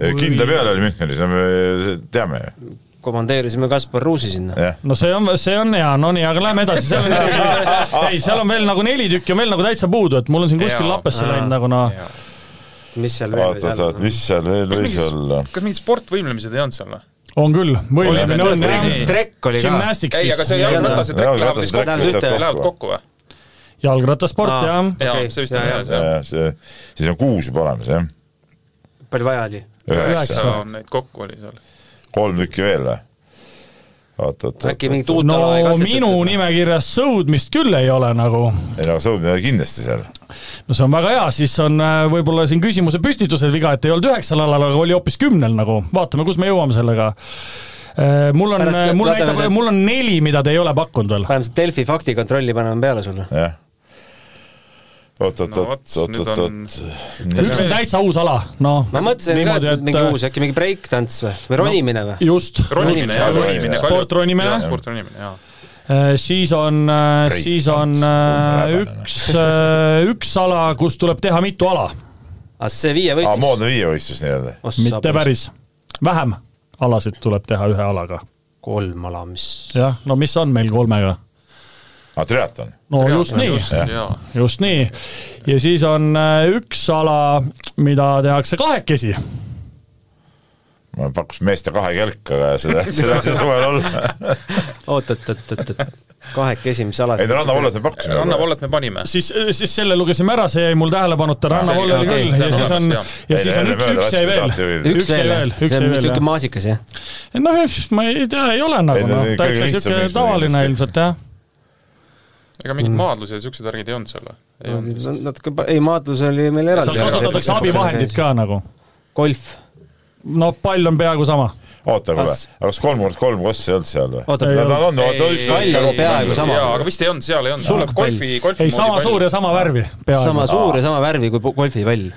[SPEAKER 3] kindla peal oli Münchenis , no me teame ju ,
[SPEAKER 5] komandeerisime Kaspar Ruusi sinna .
[SPEAKER 3] jah .
[SPEAKER 2] no see on , see on hea , no nii , aga lähme edasi , seal on ikkagi , ei , seal on veel nagu neli tükki on veel nagu täitsa puudu , et mul on siin kuskil
[SPEAKER 4] Jaa.
[SPEAKER 2] lapesse läinud nagu noh ,
[SPEAKER 5] mis seal
[SPEAKER 3] oot , oot , oot ,
[SPEAKER 5] veel ?
[SPEAKER 3] mis seal veel võis olla ?
[SPEAKER 4] kas mingid sportvõimlemised ei olnud seal või ?
[SPEAKER 2] on küll , võimlemine on
[SPEAKER 4] Oleme
[SPEAKER 2] jah.
[SPEAKER 4] teinud.
[SPEAKER 5] trekk oli ka .
[SPEAKER 2] Gymnastics
[SPEAKER 4] ei , aga see
[SPEAKER 2] siis ,
[SPEAKER 4] jalgratas
[SPEAKER 3] Jaa,
[SPEAKER 4] ja trekk
[SPEAKER 3] jalgratas
[SPEAKER 4] lähevad
[SPEAKER 3] ja
[SPEAKER 4] vist
[SPEAKER 3] trekk
[SPEAKER 4] kokku,
[SPEAKER 5] lähevad
[SPEAKER 4] lähevad
[SPEAKER 3] kokku.
[SPEAKER 4] kokku või ?
[SPEAKER 2] jalgrattasport
[SPEAKER 5] Aa.
[SPEAKER 2] jah .
[SPEAKER 4] jaa
[SPEAKER 5] Okei, ,
[SPEAKER 4] see vist on
[SPEAKER 5] jaa,
[SPEAKER 4] heas jah .
[SPEAKER 3] see , siis on kuus juba olemas , jah ?
[SPEAKER 5] palju vaja oli ?
[SPEAKER 3] üheksa ,
[SPEAKER 4] üheksa neid kokku oli seal .
[SPEAKER 3] kolm tükki veel või ? oot , oot , oot ,
[SPEAKER 5] äkki mingit uut
[SPEAKER 2] no
[SPEAKER 5] ala ei
[SPEAKER 2] minu
[SPEAKER 5] katsetatud ?
[SPEAKER 2] nimekirjas sõudmist küll ei ole nagu ,
[SPEAKER 3] ei no sõudmine oli kindlasti seal .
[SPEAKER 2] no see on väga hea , siis on äh, võib-olla siin küsimuse püstitusel viga , et ei olnud üheksal alal , aga oli hoopis kümnel nagu , vaatame , kus me jõuame sellega . mul on äh,
[SPEAKER 5] Pärast ,
[SPEAKER 2] mul
[SPEAKER 5] laseme
[SPEAKER 2] näitab
[SPEAKER 5] sealt- ,
[SPEAKER 2] mul on neli , mida te ei ole pakkunud veel .
[SPEAKER 5] paneme see Delfi faktikontrolli paneme peale sulle .
[SPEAKER 3] jah . oot , oot ,
[SPEAKER 4] No
[SPEAKER 3] oot
[SPEAKER 4] vot, ,
[SPEAKER 3] oot ,
[SPEAKER 4] nüüd
[SPEAKER 3] oot ,
[SPEAKER 4] on-
[SPEAKER 3] oot .
[SPEAKER 2] üks on täitsa uus ala , noh .
[SPEAKER 5] ma mõtlesin ka , et mingi uus , äkki mingi breikdants või , või ronimine või ?
[SPEAKER 2] äh, just ,
[SPEAKER 4] ronimine jaa ,
[SPEAKER 3] Ronimine.
[SPEAKER 4] ronimine .
[SPEAKER 2] Sportronimine.
[SPEAKER 4] sportronimine jaa .
[SPEAKER 2] siis on ,
[SPEAKER 3] Break
[SPEAKER 2] siis on
[SPEAKER 3] dance,
[SPEAKER 2] äh,
[SPEAKER 3] hull häbane.
[SPEAKER 2] üks , üks ala , kus tuleb teha mitu ala ,
[SPEAKER 5] aa , Ah, see
[SPEAKER 3] aa ,
[SPEAKER 5] viievõistlus .
[SPEAKER 3] moodne viievõistlus nii-öelda .
[SPEAKER 2] mitte . päris , vähem alasid tuleb teha ühe alaga .
[SPEAKER 5] kolm ala , mis .
[SPEAKER 2] jah , no mis on meil kolmega ?
[SPEAKER 3] aa , triatlon .
[SPEAKER 2] no just nii ,
[SPEAKER 4] jaa ,
[SPEAKER 2] just nii . ja siis on äh, üks ala , mida tehakse kahekesi .
[SPEAKER 3] ma pakkusin meeste kahekelka , aga seda , seda ei saa suvel olla .
[SPEAKER 5] oot , oot , oot , oot , oot . kahekesi , mis ala
[SPEAKER 3] ei , no rannavallas me pakkusime .
[SPEAKER 4] rannavallet me panime .
[SPEAKER 2] siis , siis selle lugesime ära , see jäi mul tähelepanuta , rannavoll
[SPEAKER 4] see
[SPEAKER 2] oli
[SPEAKER 4] oli-
[SPEAKER 2] küll
[SPEAKER 4] okei, see
[SPEAKER 2] ja
[SPEAKER 4] on
[SPEAKER 2] siis on ,
[SPEAKER 4] olemas,
[SPEAKER 2] ja siis on
[SPEAKER 3] Ei,
[SPEAKER 2] üks ,
[SPEAKER 3] ei,
[SPEAKER 2] üks jäi
[SPEAKER 3] ei,
[SPEAKER 2] veel
[SPEAKER 3] saate veel. .
[SPEAKER 2] üks jäi veel , üks jäi veel ,
[SPEAKER 5] siuke
[SPEAKER 2] jah .
[SPEAKER 5] maasikas jah .
[SPEAKER 2] noh , ma ei tea , ei ole
[SPEAKER 3] Ei,
[SPEAKER 2] nagu
[SPEAKER 3] no
[SPEAKER 2] noh
[SPEAKER 3] see ,
[SPEAKER 2] ta
[SPEAKER 3] kõige
[SPEAKER 2] ikka
[SPEAKER 3] lihtsam
[SPEAKER 2] siuke
[SPEAKER 3] mees on
[SPEAKER 2] tavaline
[SPEAKER 3] kindlasti.
[SPEAKER 2] ilmselt jah .
[SPEAKER 4] ega
[SPEAKER 2] Mm.
[SPEAKER 4] mingid maadlused ja siuksed värgid ei olnud seal või ? ei olnud vist .
[SPEAKER 5] natuke , ei maadlus oli meil
[SPEAKER 2] seal
[SPEAKER 5] eraldi .
[SPEAKER 2] kasutatakse abivahendid . ka nagu .
[SPEAKER 5] golf .
[SPEAKER 2] no pall on peaaegu sama .
[SPEAKER 3] oota , kuule ,
[SPEAKER 5] Kas-
[SPEAKER 3] aga kas kolm kord kolm koss ei olnud seal või ?
[SPEAKER 5] oota
[SPEAKER 2] Ei ,
[SPEAKER 3] Nad nad on , oota ,
[SPEAKER 4] Ei,
[SPEAKER 3] üks
[SPEAKER 4] ei,
[SPEAKER 5] ei,
[SPEAKER 3] Euroopa
[SPEAKER 5] peaaegu
[SPEAKER 3] mängudel.
[SPEAKER 5] sama.
[SPEAKER 4] jaa , aga vist ei olnud , seal ei olnud , sul on golfi , golfi
[SPEAKER 2] ei , sama suur ja sama värvi ,
[SPEAKER 5] sama
[SPEAKER 2] peaaegu .
[SPEAKER 5] suur ja sama värvi kui po- golfipall .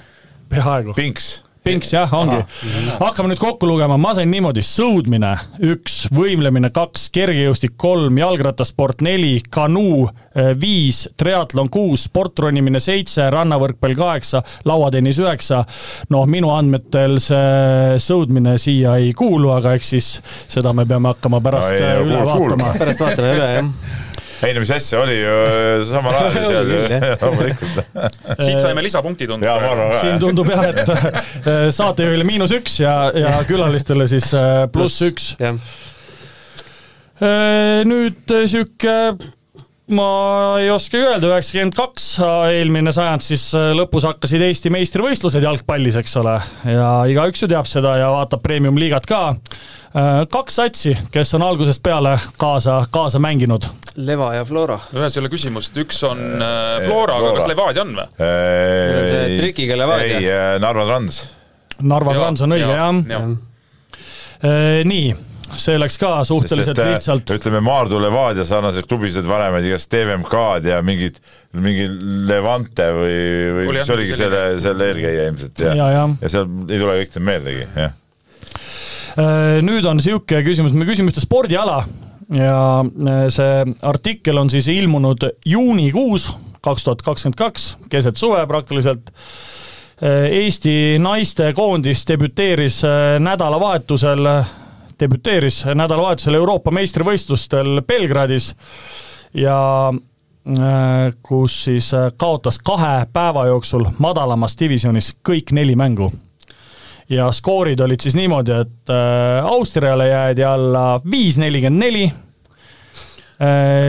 [SPEAKER 2] peaaegu .
[SPEAKER 3] pinks ,
[SPEAKER 2] pinks jah , ongi .
[SPEAKER 3] Ah,
[SPEAKER 2] hakkame nüüd kokku lugema , ma sain niimoodi , sõudmine üks , võimlemine kaks , kergejõustik kolm , jalgrattasport neli , kanuu eh, viis , triatlon kuus , sportronimine seitse , rannavõrkpall kaheksa , lauatennis üheksa . noh , minu andmetel see sõudmine siia ei kuulu , aga eks siis seda me peame hakkama pärast
[SPEAKER 3] No ei,
[SPEAKER 2] eh,
[SPEAKER 3] kuul-
[SPEAKER 2] üle
[SPEAKER 3] kuulma.
[SPEAKER 2] vaatama .
[SPEAKER 5] pärast vaatame üle jah .
[SPEAKER 3] ei no mis asja , oli ju äh, samal ajal ju seal ju
[SPEAKER 5] Oli küll, ,
[SPEAKER 3] loomulikult .
[SPEAKER 4] siit saime lisapunkti tunda .
[SPEAKER 3] jaa , ma
[SPEAKER 2] siin
[SPEAKER 3] arvan ka .
[SPEAKER 2] tundub jah , et eh, saatejuhile miinus üks ja , ja külalistele siis eh, pluss üks
[SPEAKER 5] jah ,
[SPEAKER 2] nüüd äh, sihuke , ma ei oskagi öelda , üheksakümmend kaks eelmine sajand siis äh, lõpus hakkasid Eesti meistrivõistlused jalgpallis , eks ole , ja igaüks ju teab seda ja vaatab premium-liigat ka . kaks satsi , kes on algusest peale kaasa , kaasa mänginud .
[SPEAKER 5] Leva ja Flora .
[SPEAKER 4] ühes ei ole küsimust , üks on äh, Flora , aga
[SPEAKER 3] Flora.
[SPEAKER 4] kas Levadia on või ?
[SPEAKER 5] See trikiga Levadia.
[SPEAKER 3] ei , Narva Trans .
[SPEAKER 2] Narva Krans on õige , jah . nii , see läks ka suhteliselt lihtsalt .
[SPEAKER 3] äh, ütleme , Maardu Levadia sarnased klubisid varem olid igast TVMK-d ja mingid , mingi Levante või , või
[SPEAKER 4] Oli
[SPEAKER 3] mis
[SPEAKER 4] jah,
[SPEAKER 3] oligi selle
[SPEAKER 4] selline. ,
[SPEAKER 3] selle eelkäija ilmselt
[SPEAKER 2] Jaa,
[SPEAKER 3] ja
[SPEAKER 2] jah. ,
[SPEAKER 3] ja seal ei tule kõik need meeldegi , jah .
[SPEAKER 2] Äh, nüüd on sihuke küsimus , me küsime ühte spordiala ja äh, see artikkel on siis ilmunud juunikuus kaks tuhat kakskümmend kaks , keset suve praktiliselt . Eesti naistekoondis debüteeris äh, nädalavahetusel , debüteeris nädalavahetusel Euroopa meistrivõistlustel Belgradis ja äh, kus siis äh, kaotas kahe päeva jooksul madalamas divisjonis kõik neli mängu ja skoorid olid siis niimoodi , et äh, Austriale jäädi alla viis nelikümmend neli ,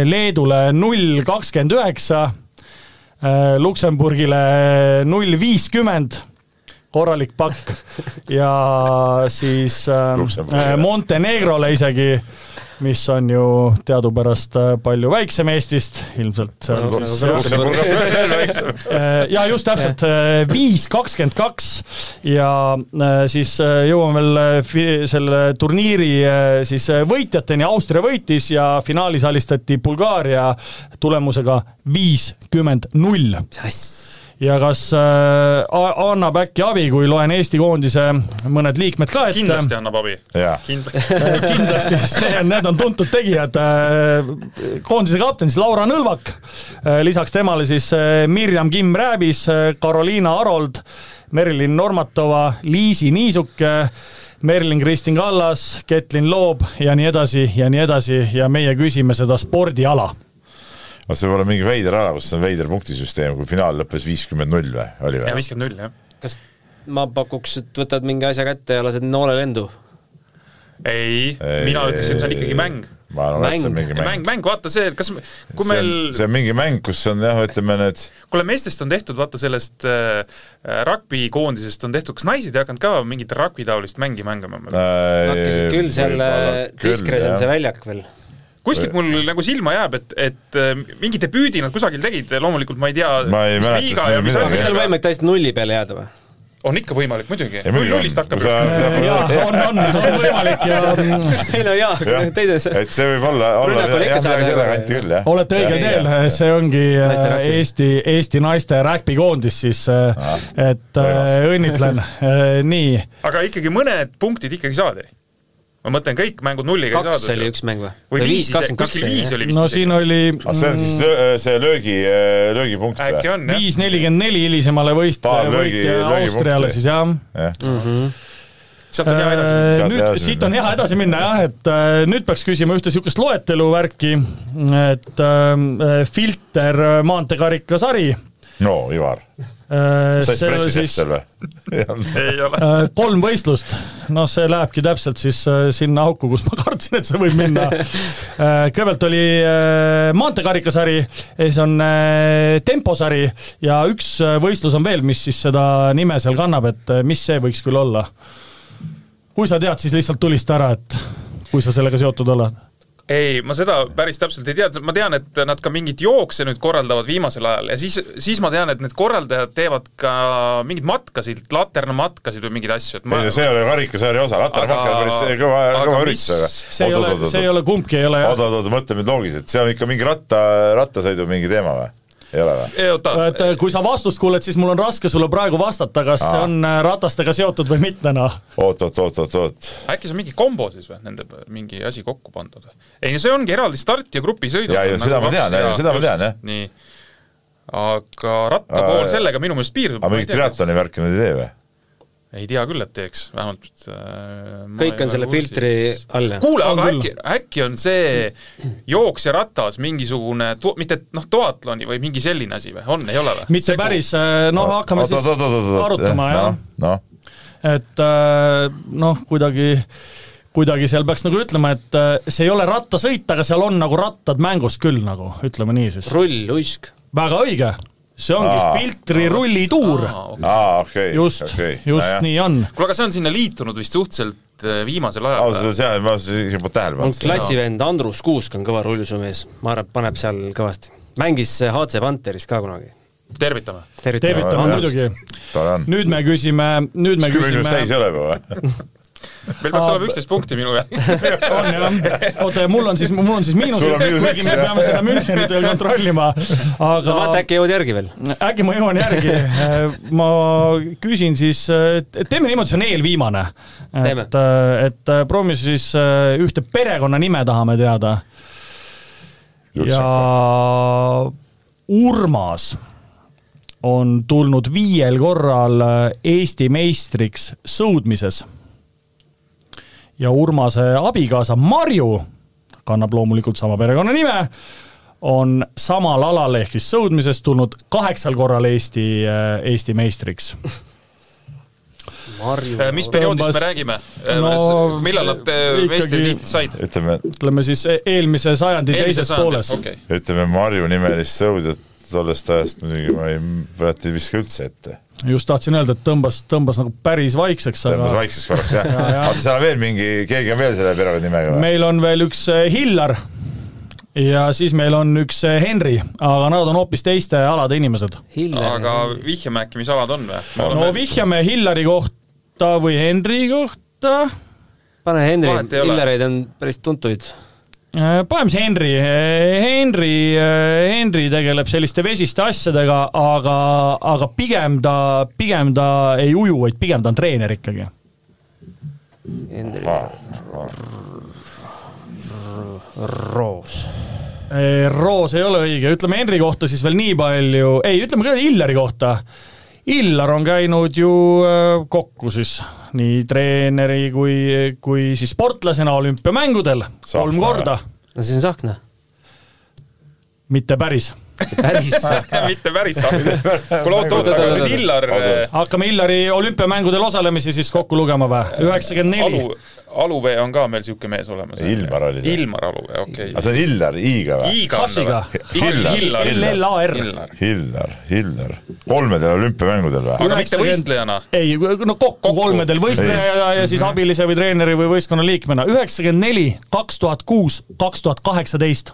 [SPEAKER 2] Leedule null kakskümmend üheksa , Luksemburgile null viiskümmend , korralik pakk ja siis äh, äh,
[SPEAKER 3] Luksemburgile.
[SPEAKER 2] Montenegrole isegi , mis on ju teadupärast äh, palju väiksem Eestist , ilmselt seal
[SPEAKER 5] No,
[SPEAKER 2] siis
[SPEAKER 5] see on
[SPEAKER 2] jah, Eh, ja just täpselt , viis kakskümmend kaks ja eh, siis eh, jõuame veel eh, fi- selle turniiri eh, siis eh, võitjateni , Austria võitis ja finaalis alistati Bulgaaria tulemusega viiskümmend null .
[SPEAKER 5] mis asja .
[SPEAKER 2] ja kas äh, a- annab äkki abi , kui loen Eesti koondise mõned liikmed ka ette ?
[SPEAKER 4] kindlasti annab abi .
[SPEAKER 3] jaa ,
[SPEAKER 4] kindlasti .
[SPEAKER 2] kindlasti , see on , need on tuntud tegijad . koondise kapten siis Laura Nõlvak , lisaks temale siis äh, Mirjam Kim Rääbis , Karoliina Arold , Merilin Normatova , Liisi Niisuke , Merlin Kristin Kallas , Ketlin Loob ja nii edasi ja nii edasi ja meie küsime seda spordiala .
[SPEAKER 3] vot see võib olla mingi veider ala , kus on veider punktisüsteem , kui finaal lõppes viiskümmend null või , oli
[SPEAKER 4] ja
[SPEAKER 3] või ?
[SPEAKER 4] viiskümmend null , jah .
[SPEAKER 5] kas ma pakuks , et võtad mingi asja kätte ja lased noole lendu ?
[SPEAKER 4] ei, ei , mina ütleks , et see on ikkagi mäng .
[SPEAKER 3] ma arvan , et see on
[SPEAKER 5] Mäng.
[SPEAKER 3] mingi mäng .
[SPEAKER 4] mäng , mäng , vaata see , kas , kui
[SPEAKER 3] see on
[SPEAKER 4] meil ,,
[SPEAKER 3] see on mingi mäng , kus on jah , ütleme need , äh,
[SPEAKER 4] kuule meestest on tehtud , vaata sellest äh, rugby koondisest on tehtud , kas naised ei hakanud ka mingit rugby taolist mängi mängima ?
[SPEAKER 3] Äh,
[SPEAKER 5] hakkasid küll seal äh, Diskres on see . väljak veel .
[SPEAKER 3] äh.
[SPEAKER 4] kuskilt mul nagu silma jääb , et , et äh, mingi debüüdi nad kusagil tegid , loomulikult ma ei tea ,
[SPEAKER 3] Ma ei mäleta seda midagi.
[SPEAKER 5] kas seal on võimalik täiesti nulli peale jääda või ?
[SPEAKER 4] on ikka võimalik muidugi ,
[SPEAKER 3] Ja muidugi on.
[SPEAKER 4] nullist hakkab
[SPEAKER 3] Kui sa-
[SPEAKER 4] sa...
[SPEAKER 5] Nagu
[SPEAKER 2] jaa , on , on , on võimalik ja
[SPEAKER 5] ei no jaa ,
[SPEAKER 3] jah ,
[SPEAKER 5] teises .
[SPEAKER 3] et see võib olla , olla
[SPEAKER 5] Rünnakul
[SPEAKER 3] midagi
[SPEAKER 5] ikka
[SPEAKER 3] jah,
[SPEAKER 5] saab
[SPEAKER 3] midagi selle
[SPEAKER 5] ära-
[SPEAKER 3] kanti küll , jah .
[SPEAKER 2] olete õigel
[SPEAKER 5] Jah,
[SPEAKER 2] teel
[SPEAKER 5] jah, ,
[SPEAKER 2] see ongi äh,
[SPEAKER 5] Naiste rugby. Ah.
[SPEAKER 2] Eesti , Eesti naiste räkpikoondis siis , et äh,
[SPEAKER 3] võimas.
[SPEAKER 2] õnnitlen , nii
[SPEAKER 4] aga ikkagi mõned punktid ikkagi saadi . ma mõtlen , kõik mängud nulliga ei
[SPEAKER 5] kaks
[SPEAKER 4] saadud
[SPEAKER 5] oli
[SPEAKER 4] ju.
[SPEAKER 5] üks mäng või ?
[SPEAKER 4] või viis isegi ,
[SPEAKER 5] kakskümmend kaks
[SPEAKER 4] kuskil
[SPEAKER 5] oli
[SPEAKER 4] viis
[SPEAKER 5] jah ?
[SPEAKER 4] oli vist
[SPEAKER 2] no siin oli
[SPEAKER 3] Ah, see on siis löö- see löögi , löögipunkt
[SPEAKER 4] äkki
[SPEAKER 3] või ?
[SPEAKER 4] on jah ,
[SPEAKER 2] viis nelikümmend neli hilisemale
[SPEAKER 3] Paar
[SPEAKER 2] võistleja
[SPEAKER 3] löögi-
[SPEAKER 2] võitja
[SPEAKER 3] löögipunkti.
[SPEAKER 2] Austriale siis jah .
[SPEAKER 3] jah ,
[SPEAKER 4] sealt on hea edasi
[SPEAKER 5] Äh.
[SPEAKER 4] minna .
[SPEAKER 3] Sealt
[SPEAKER 2] nüüd
[SPEAKER 3] edasi
[SPEAKER 2] siit
[SPEAKER 3] minna.
[SPEAKER 2] on hea edasi minna jah , et äh, nüüd peaks küsima ühte niisugust loetelu värki , et äh, filter äh, maanteekarikasari .
[SPEAKER 3] no Ivar , said
[SPEAKER 2] see oli
[SPEAKER 3] pressisepp
[SPEAKER 2] siis
[SPEAKER 3] seal või ?
[SPEAKER 4] ei ole .
[SPEAKER 2] äh, kolm võistlust , noh , see lähebki täpselt siis äh, sinna auku , kus ma kartsin , et see võib minna . kõigepealt oli äh, maanteekarikasari , siis on äh, temposari ja üks äh, võistlus on veel , mis siis seda nime seal kannab , et äh, mis see võiks küll olla . kui sa tead , siis lihtsalt tulista ära , et kui sa sellega seotud oled .
[SPEAKER 4] ei , ma seda päris täpselt ei tea , ma tean , et nad ka mingit jookse nüüd korraldavad viimasel ajal ja siis , siis ma tean , et need korraldajad teevad ka mingeid matkasid , laternamatkasid või mingeid asju , et ma
[SPEAKER 3] ei no see ei ole karikasarja osa , Latar
[SPEAKER 4] Aga-
[SPEAKER 3] Mahkel on päris kõva , kõva
[SPEAKER 4] aga
[SPEAKER 3] üritus ,
[SPEAKER 4] mis-
[SPEAKER 3] aga
[SPEAKER 2] see ei ole , see ei ole , kumbki ei ole jah .
[SPEAKER 3] oot-oot-oot , mõtle nüüd loogiliselt , see on ikka mingi ratta , rattasõidu mingi teema või ? ei ole või ?
[SPEAKER 4] ei oota ,
[SPEAKER 2] et äh, kui sa vastust kuuled , siis mul on raske sulle praegu vastata , kas see on äh, ratastega seotud või mitte , noh .
[SPEAKER 3] oot-oot-oot-oot-oot ,
[SPEAKER 4] äkki see on mingi kombo siis või , nende mingi asi kokku pandud või ? ei no see ongi eraldi start ja grupisõidu .
[SPEAKER 3] Jaa, jaa, seda ma tean, jaa, seda ma tean, jah.
[SPEAKER 4] nii , aga ratta pool
[SPEAKER 3] Aa,
[SPEAKER 4] sellega minu meelest piirdub .
[SPEAKER 3] aga mingit triatloni värki nad ei tee või ?
[SPEAKER 4] ei tea küll , et teeks , vähemalt äh, ma ei
[SPEAKER 5] kõik
[SPEAKER 4] ole
[SPEAKER 5] on selle
[SPEAKER 4] kursis.
[SPEAKER 5] filtri all jah ?
[SPEAKER 4] kuule ,
[SPEAKER 2] On
[SPEAKER 4] aga
[SPEAKER 2] küll.
[SPEAKER 4] äkki , äkki on see jooksja ratas mingisugune , mitte noh , duatloni või mingi selline asi või on , ei ole või ?
[SPEAKER 2] mitte Segu. . päris , noh , hakkame siis arutama , jah .
[SPEAKER 3] noh ,
[SPEAKER 2] et äh, noh , kuidagi , kuidagi seal peaks nagu ütlema , et äh, see ei ole rattasõit , aga seal on nagu rattad mängus küll nagu , ütleme nii siis .
[SPEAKER 5] rull , uisk .
[SPEAKER 2] väga õige , see ongi
[SPEAKER 3] Aa.
[SPEAKER 2] filtri rullituur .
[SPEAKER 3] aa okei ,
[SPEAKER 2] just , just no, . nii on .
[SPEAKER 4] kuule , aga see on sinna liitunud vist suhteliselt äh, viimasel ajal
[SPEAKER 3] ausalt . öeldes jah , ma isegi polnud tähele
[SPEAKER 5] on
[SPEAKER 3] pannud .
[SPEAKER 5] klassivend Andrus Kuusk on kõva rulluisumees , ma arvan , paneb seal kõvasti . mängis HC Panteris ka kunagi .
[SPEAKER 4] tervitame .
[SPEAKER 5] tervitame .
[SPEAKER 2] tervitame muidugi .
[SPEAKER 3] tore on .
[SPEAKER 2] nüüd me küsime , nüüd me
[SPEAKER 3] kas kümme minutit täis
[SPEAKER 2] küsime .
[SPEAKER 3] ei ole juba või ?
[SPEAKER 4] meil peaks
[SPEAKER 2] Aa,
[SPEAKER 4] olema üksteist punkti minu järgi .
[SPEAKER 2] on jah , oota ja mul on siis , mul on siis miinus
[SPEAKER 3] Sul
[SPEAKER 2] üks ,
[SPEAKER 3] on miinus
[SPEAKER 2] kuigi
[SPEAKER 3] üks,
[SPEAKER 2] me
[SPEAKER 3] jah.
[SPEAKER 2] peame seda Münchenit veel kontrollima , aga
[SPEAKER 5] no vaata , äkki jõuad järgi veel .
[SPEAKER 2] äkki ma jõuan järgi , ma küsin siis , teeme niimoodi , see on eelviimane .
[SPEAKER 5] Teeme.
[SPEAKER 2] et , et proovime siis äh, ühte perekonnanime tahame teada ja Urmas on tulnud viiel korral Eesti meistriks sõudmises . ja Urmase abikaasa Marju kannab loomulikult sama perekonnanime , on samal alal ehk siis sõudmises tulnud kaheksal korral Eesti , Eesti meistriks .
[SPEAKER 5] Marju
[SPEAKER 4] Äh, mis perioodist me
[SPEAKER 2] Tõmbas-
[SPEAKER 4] räägime
[SPEAKER 2] No
[SPEAKER 4] no, ? millal nad äh,
[SPEAKER 2] ikkagi-
[SPEAKER 4] meistritiitlit said ?
[SPEAKER 3] ütleme ,
[SPEAKER 2] ütleme siis e- eelmise sajandi eelmise teises pooles .
[SPEAKER 4] okei .
[SPEAKER 3] ütleme Marju-nimelist sõudjat tollest ajast muidugi ma ei , praegu ei viska üldse ette .
[SPEAKER 2] just tahtsin öelda , et tõmbas , tõmbas nagu päris vaikseks ,
[SPEAKER 3] tõmbas
[SPEAKER 2] aga
[SPEAKER 3] vaikseks korraks jah .
[SPEAKER 2] jah.
[SPEAKER 3] vaata , seal on veel mingi , keegi on veel selle perekonnanimega või ?
[SPEAKER 2] meil on veel üks äh, Hillar ja siis meil on üks äh, Henri , aga nad on hoopis teiste alade inimesed .
[SPEAKER 4] aga
[SPEAKER 5] Hiller .
[SPEAKER 4] vihjame äkki , mis alad on või ?
[SPEAKER 2] no vihjame Hillari kohta või Henri kohta .
[SPEAKER 5] pane
[SPEAKER 4] Vahet ei
[SPEAKER 5] Henri ,
[SPEAKER 4] ole.
[SPEAKER 5] Hillereid on päris tuntuid .
[SPEAKER 2] Äh, paneme siis Henri, Äh, Henri, äh, Henri tegeleb selliste vesiste asjadega, aga , aga pigem ta , pigem ta ei uju , vaid pigem ta on treener ikkagi .
[SPEAKER 5] Henri Roos .
[SPEAKER 2] Eh, Roos ei ole õige , ütleme Henri kohta siis veel nii palju , ei , ütleme ka Illari kohta . Illar on käinud ju äh, kokku siis nii treeneri kui , kui siis sportlasena olümpiamängudel kolm
[SPEAKER 3] Sahkna.
[SPEAKER 2] korda ,
[SPEAKER 5] no see on noh. Tsahkna .
[SPEAKER 2] mitte päris
[SPEAKER 5] päris Tsahkna .
[SPEAKER 4] mitte päris saanud . kuule , oot , oot , aga nüüd Illar , äh,
[SPEAKER 2] hakkame Illari olümpiamängudel osalemisi siis kokku lugema
[SPEAKER 4] Äh,
[SPEAKER 2] või ? üheksakümmend neli
[SPEAKER 4] Alu , Aluvee on ka meil niisugune mees olemas .
[SPEAKER 3] Ilmar oli see.
[SPEAKER 4] Ilmar Aluvee , okei
[SPEAKER 3] aga . see on Hillar I-ga või ?
[SPEAKER 4] I-ga on ta
[SPEAKER 2] Hassiga.
[SPEAKER 4] või ?
[SPEAKER 3] Hillar.
[SPEAKER 4] Hillar .
[SPEAKER 2] LLAR.
[SPEAKER 4] Hillar .
[SPEAKER 3] Hillar , Hillar , kolmedel olümpiamängudel või ?
[SPEAKER 4] aga mitte võistlejana ?
[SPEAKER 2] ei , no kokku, kokku.
[SPEAKER 4] Kokku. Mhm.
[SPEAKER 2] kolmedel võistleja ja, ja siis abilise või treeneri või võistkonna liikmena . üheksakümmend neli , kaks tuhat kuus , kaks tuhat kaheksateist .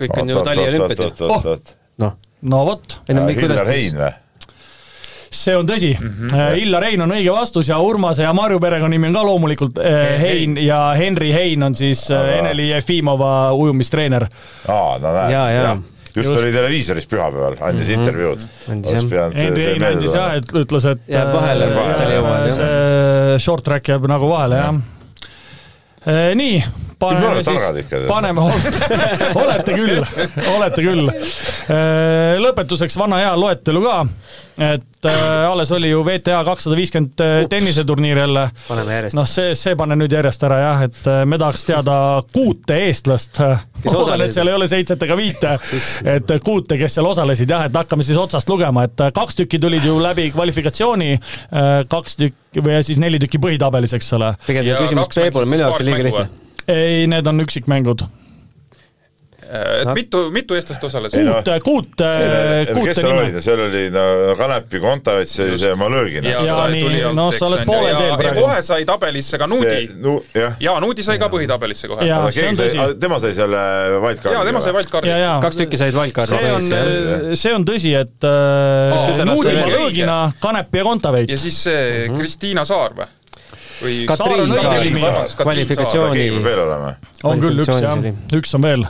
[SPEAKER 5] kõik on ju taliolümpiad ju .
[SPEAKER 3] oot-oot-oot-oot ,
[SPEAKER 5] noh ,
[SPEAKER 2] no vot ,
[SPEAKER 5] ei no kuidas
[SPEAKER 3] Äh, Hillar Hein või ?
[SPEAKER 2] see on tõsi mm .
[SPEAKER 3] Mhm.
[SPEAKER 2] -hmm. Illar Hein on õige vastus ja Urmase ja Marju perekonnanimi on ka loomulikult eh, Hein ja Henri Hein on siis eh, Eneli Jefimova ujumistreener .
[SPEAKER 3] aa , no
[SPEAKER 5] Jaa, jaa.
[SPEAKER 3] näed .
[SPEAKER 5] Mhm.
[SPEAKER 3] just oli televiisoris pühapäeval , andis intervjuud . äh,
[SPEAKER 5] Andis, jah.
[SPEAKER 2] Henri Hein andis jah , et ütles , et
[SPEAKER 5] Jääb vahele,
[SPEAKER 2] eh,
[SPEAKER 3] vahele jääb
[SPEAKER 5] vahele, jah.
[SPEAKER 2] see short track jääb nagu vahele jah Eh, nii ,
[SPEAKER 3] me
[SPEAKER 2] paneme
[SPEAKER 3] oleme
[SPEAKER 2] siis
[SPEAKER 3] targad ikka, tead. ,
[SPEAKER 2] paneme , olete küll , olete küll . lõpetuseks vana hea loetelu ka , et eh, alles oli ju VTA kakssada viiskümmend äh, tenniseturniir jälle .
[SPEAKER 5] Paneme järjest.
[SPEAKER 2] noh , see , see pane nüüd järjest ära jah , et eh, me tahaks teada kuute eestlast . ma loodan , et
[SPEAKER 5] osalesid.
[SPEAKER 2] seal ei ole seitset ega viite , et äh, kuute , kes seal osalesid jah , et hakkame siis otsast lugema , et äh, kaks tükki tulid ju läbi kvalifikatsiooni , kaks tükki või siis neli tükki põhitabelis , eks ole .
[SPEAKER 5] pigem
[SPEAKER 4] Ja
[SPEAKER 5] küsimus
[SPEAKER 4] kaks
[SPEAKER 5] Peebule , minu jaoks on liiga
[SPEAKER 4] mängu siis
[SPEAKER 5] lihtne
[SPEAKER 4] paarist .
[SPEAKER 2] ei , need on üksikmängud .
[SPEAKER 4] Äh, et mitu , mitu eestlast osales ?
[SPEAKER 3] Ei, no-
[SPEAKER 2] kuut , kuut ,
[SPEAKER 3] kes
[SPEAKER 2] kuute
[SPEAKER 3] seal olid ,
[SPEAKER 2] nime .
[SPEAKER 3] seal oli no Kanepi , Kontavets ja siis Malõõgin .
[SPEAKER 4] ja,
[SPEAKER 2] Jaa,
[SPEAKER 4] ja
[SPEAKER 2] nii,
[SPEAKER 4] tuli
[SPEAKER 2] no sa oled poolel teel praegu.
[SPEAKER 4] praegu . kohe sai tabelisse ka Nuudi .
[SPEAKER 3] no jah ,
[SPEAKER 4] jaa , Nuudi sai ka põhitabelisse kohe .
[SPEAKER 2] Jaa.
[SPEAKER 4] jaa ,
[SPEAKER 3] aga
[SPEAKER 2] see on
[SPEAKER 3] keegi sai
[SPEAKER 2] tõsi. ,
[SPEAKER 3] tema sai selle wildcardi .
[SPEAKER 4] tema sai . valtkardi
[SPEAKER 2] ja ,. ja
[SPEAKER 5] kaks tükki said
[SPEAKER 2] see on äh,
[SPEAKER 5] valkardi .,
[SPEAKER 2] see on tõsi , et äh,
[SPEAKER 4] Kaks tütarlast
[SPEAKER 2] Nuudi
[SPEAKER 4] sai õige.
[SPEAKER 2] Malõõgina , Kanepi ja
[SPEAKER 4] ja
[SPEAKER 2] Kontaveit .
[SPEAKER 4] siis see Kristiina Saar või ? või
[SPEAKER 5] Mhm. Katriin
[SPEAKER 4] Saar on
[SPEAKER 5] Saar.
[SPEAKER 4] õige nimi. Vabandust, Katriin
[SPEAKER 5] Kvalifikatsioon.
[SPEAKER 4] Saar.
[SPEAKER 3] keegi peab veel olema .
[SPEAKER 2] on küll üks jah
[SPEAKER 5] Kvalifikatsioonis ,
[SPEAKER 2] üks on veel .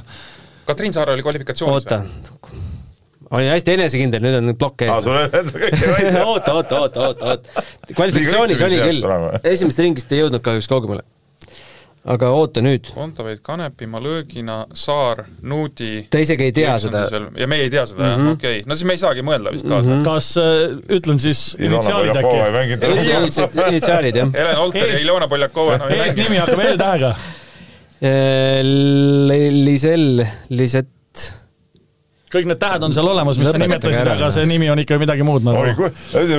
[SPEAKER 4] Katriin Saar oli kvalifikatsioonis
[SPEAKER 5] oota . olin hästi enesekindel , nüüd on plokk
[SPEAKER 3] aa ,
[SPEAKER 5] ees .
[SPEAKER 3] sul on kõik
[SPEAKER 5] oota ,
[SPEAKER 3] välja .
[SPEAKER 5] oota , oota , oota , oota . kvalifikatsioonis
[SPEAKER 3] Liiga
[SPEAKER 5] oli
[SPEAKER 3] ühtepidi
[SPEAKER 5] küll
[SPEAKER 3] peaks olema. ,
[SPEAKER 5] esimesest ringist ei jõudnud kahjuks kaugemale . aga oota nüüd ,
[SPEAKER 4] Kontaveit , Kanepimaa , Lõõgina , Saar , Nuudi .
[SPEAKER 5] ta isegi ei tea seda . Mhm.
[SPEAKER 4] ja me ei tea seda jah , okei , no siis me ei saagi mõelda vist kaasa .
[SPEAKER 2] kas äh, ütlen siis
[SPEAKER 3] Ilona
[SPEAKER 2] initsiaalid
[SPEAKER 3] Beljakova ei
[SPEAKER 2] äkki ?
[SPEAKER 3] mänginud enam .
[SPEAKER 5] initsiaalid jah .
[SPEAKER 4] Helen Olter ja
[SPEAKER 2] Ees-
[SPEAKER 4] Ilona Poljakova , no ei mängi .
[SPEAKER 2] eesnimi hakkab L-tähega .
[SPEAKER 5] Äh, Lisel , Liset ,
[SPEAKER 2] kõik need tähed on seal olemas , mis sa
[SPEAKER 5] Lõpetage
[SPEAKER 2] nimetasid ,
[SPEAKER 5] ära.
[SPEAKER 2] aga see nimi on ikka midagi muud
[SPEAKER 3] oi
[SPEAKER 2] nagu .,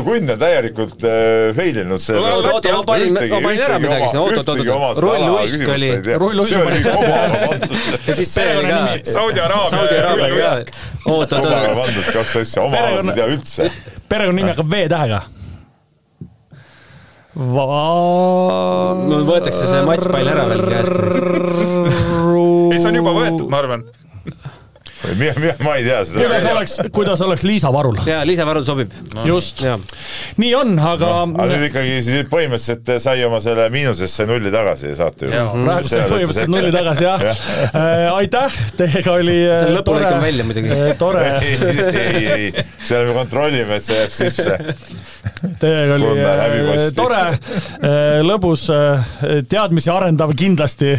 [SPEAKER 3] Kunn on täielikult äh, fail inud selle .
[SPEAKER 4] Oota, oota, ma
[SPEAKER 5] panin- ma panin ära midagi sinna. Oot, oot, oot, oot. Roll Uisk oli-
[SPEAKER 2] Roll Uisk
[SPEAKER 3] see
[SPEAKER 2] pani-
[SPEAKER 3] oli kogu aeg pandud .
[SPEAKER 5] ja siis see oli
[SPEAKER 2] Perekonnanimi.
[SPEAKER 5] ka .
[SPEAKER 4] Saudi Araabia .
[SPEAKER 5] Saudi Araabia ka . oota ,
[SPEAKER 3] kogu aeg
[SPEAKER 5] oota ,
[SPEAKER 3] pandud kaks asja , oma
[SPEAKER 2] Perekonna-
[SPEAKER 3] arust ei tea üldse .
[SPEAKER 2] perekonnanimi hakkab V-tähega . Va- .
[SPEAKER 5] mul võetakse see matšpall ära veel käest .
[SPEAKER 4] ei , see on juba võetud , ma arvan .
[SPEAKER 3] mina , mina , ma ei tea seda
[SPEAKER 2] kuidas . oleks , kuidas oleks Liisa Varul ?
[SPEAKER 5] jaa , lisavaru sobib .
[SPEAKER 2] just ,
[SPEAKER 5] jaa ,
[SPEAKER 2] nii on , aga
[SPEAKER 3] aga nüüd ikkagi siis põhimõtteliselt äh, sai oma selle miinusesse nulli tagasi saate
[SPEAKER 4] Jaa,
[SPEAKER 3] juurde .
[SPEAKER 2] praegu sai põhimõtteliselt nulli tagasi jah
[SPEAKER 3] Jah.
[SPEAKER 2] Äh, aitäh , teiega oli äh,
[SPEAKER 5] see on lõpul
[SPEAKER 2] tore-
[SPEAKER 5] ikka välja muidugi .
[SPEAKER 2] äh, tore ,
[SPEAKER 3] ei , ei , ei , seal me kontrollime , et see jääb sisse .
[SPEAKER 2] teiega oli
[SPEAKER 3] Tunne
[SPEAKER 2] äh,
[SPEAKER 3] läbipaisti.
[SPEAKER 2] tore , lõbus , teadmisi arendav kindlasti .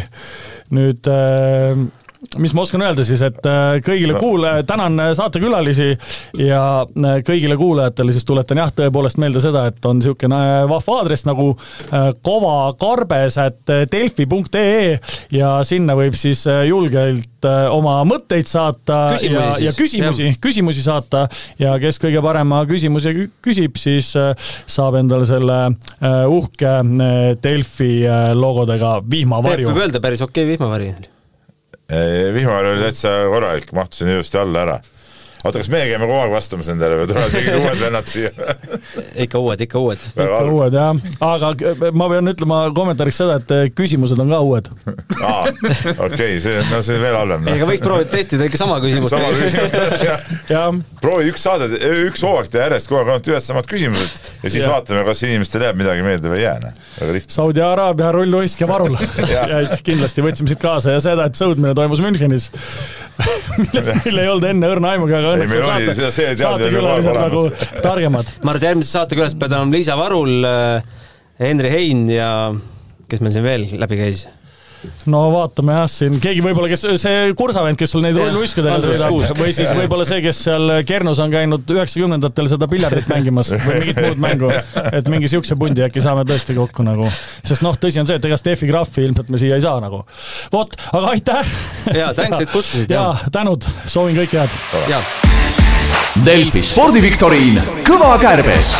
[SPEAKER 2] nüüd äh, mis ma oskan öelda siis , et äh, kõigile kuulaja , tänan äh, saatekülalisi ja äh, kõigile kuulajatele siis tuletan jah , tõepoolest meelde seda , et on niisugune vahva aadress nagu äh, kovakarbes.delfi.ee ja sinna võib siis äh, julgelt äh, oma mõtteid saata
[SPEAKER 5] Küsimusi
[SPEAKER 2] ja , ja
[SPEAKER 5] siis,
[SPEAKER 2] küsimusi , küsimusi saata ja kes kõige parema küsimuse kü- küsib , siis äh, saab endale selle äh, uhke äh, Delfi äh, logodega
[SPEAKER 5] Peep
[SPEAKER 2] vihmavarju
[SPEAKER 5] võib . öelda päris okei vihmavari .
[SPEAKER 3] vihmavarju oli täitsa korralik , mahtusin ilusti alla ära . oota , kas meie käime kogu aeg vastamas nendele või tulevad mingid uued vennad siia ?
[SPEAKER 5] ikka uued , ikka uued .
[SPEAKER 2] ikka uued jah , aga k- ma pean ütlema kommentaariks seda , et eh, küsimused on ka uued .
[SPEAKER 3] aa , okei , see , no see on veel halvem .
[SPEAKER 5] ega võiks proovida testida ikka sama küsimust .
[SPEAKER 3] sama küsimus , jah .
[SPEAKER 2] jah ,
[SPEAKER 3] proovi üks saade , üks hooaeg teha järjest kogu aeg ainult ühed samad küsimused ja siis
[SPEAKER 2] Jah.
[SPEAKER 3] vaatame , kas inimestele jääb midagi meelde või ei jää , noh . väga lihtne .
[SPEAKER 2] Saudi Araabia rull uiskab arul jäid kindlasti , võtsime siit kaasa ja seda , et sõudmine toimus Münchenis , millest meil ei olnud enne õrna aimugi , aga õnneks
[SPEAKER 3] meil
[SPEAKER 2] on
[SPEAKER 3] oli, seda- see
[SPEAKER 2] saate ,
[SPEAKER 3] teadmine oli kogu aeg
[SPEAKER 2] saatekülalised nagu
[SPEAKER 3] olemas.
[SPEAKER 2] targemad .
[SPEAKER 5] ma arvan , et järgmises saatekülas peavad olema Liisa Varul , Henri Hein ja kes meil siin veel läbi käis ?
[SPEAKER 2] no vaatame jah , siin keegi võib-olla , kes see kursavend , kes sul neid
[SPEAKER 5] Jah,
[SPEAKER 2] rulluiskudega
[SPEAKER 5] Andrus Kuusk.
[SPEAKER 2] sõidab või siis võib-olla see , kes seal Kernus on käinud üheksakümnendatel seda piljardit mängimas või mingit muud mängu , et mingi siukse pundi äkki saame tõesti kokku nagu , sest noh , tõsi on see , et ega Steffi Graffi ilmselt me siia ei saa nagu . vot , aga aitäh .
[SPEAKER 5] Jaa, thanks, et kutsusid,
[SPEAKER 2] ja
[SPEAKER 5] jah.
[SPEAKER 2] tänud , soovin kõike head
[SPEAKER 5] jaa
[SPEAKER 1] Delfi spordiviktoriin Kõva kärbes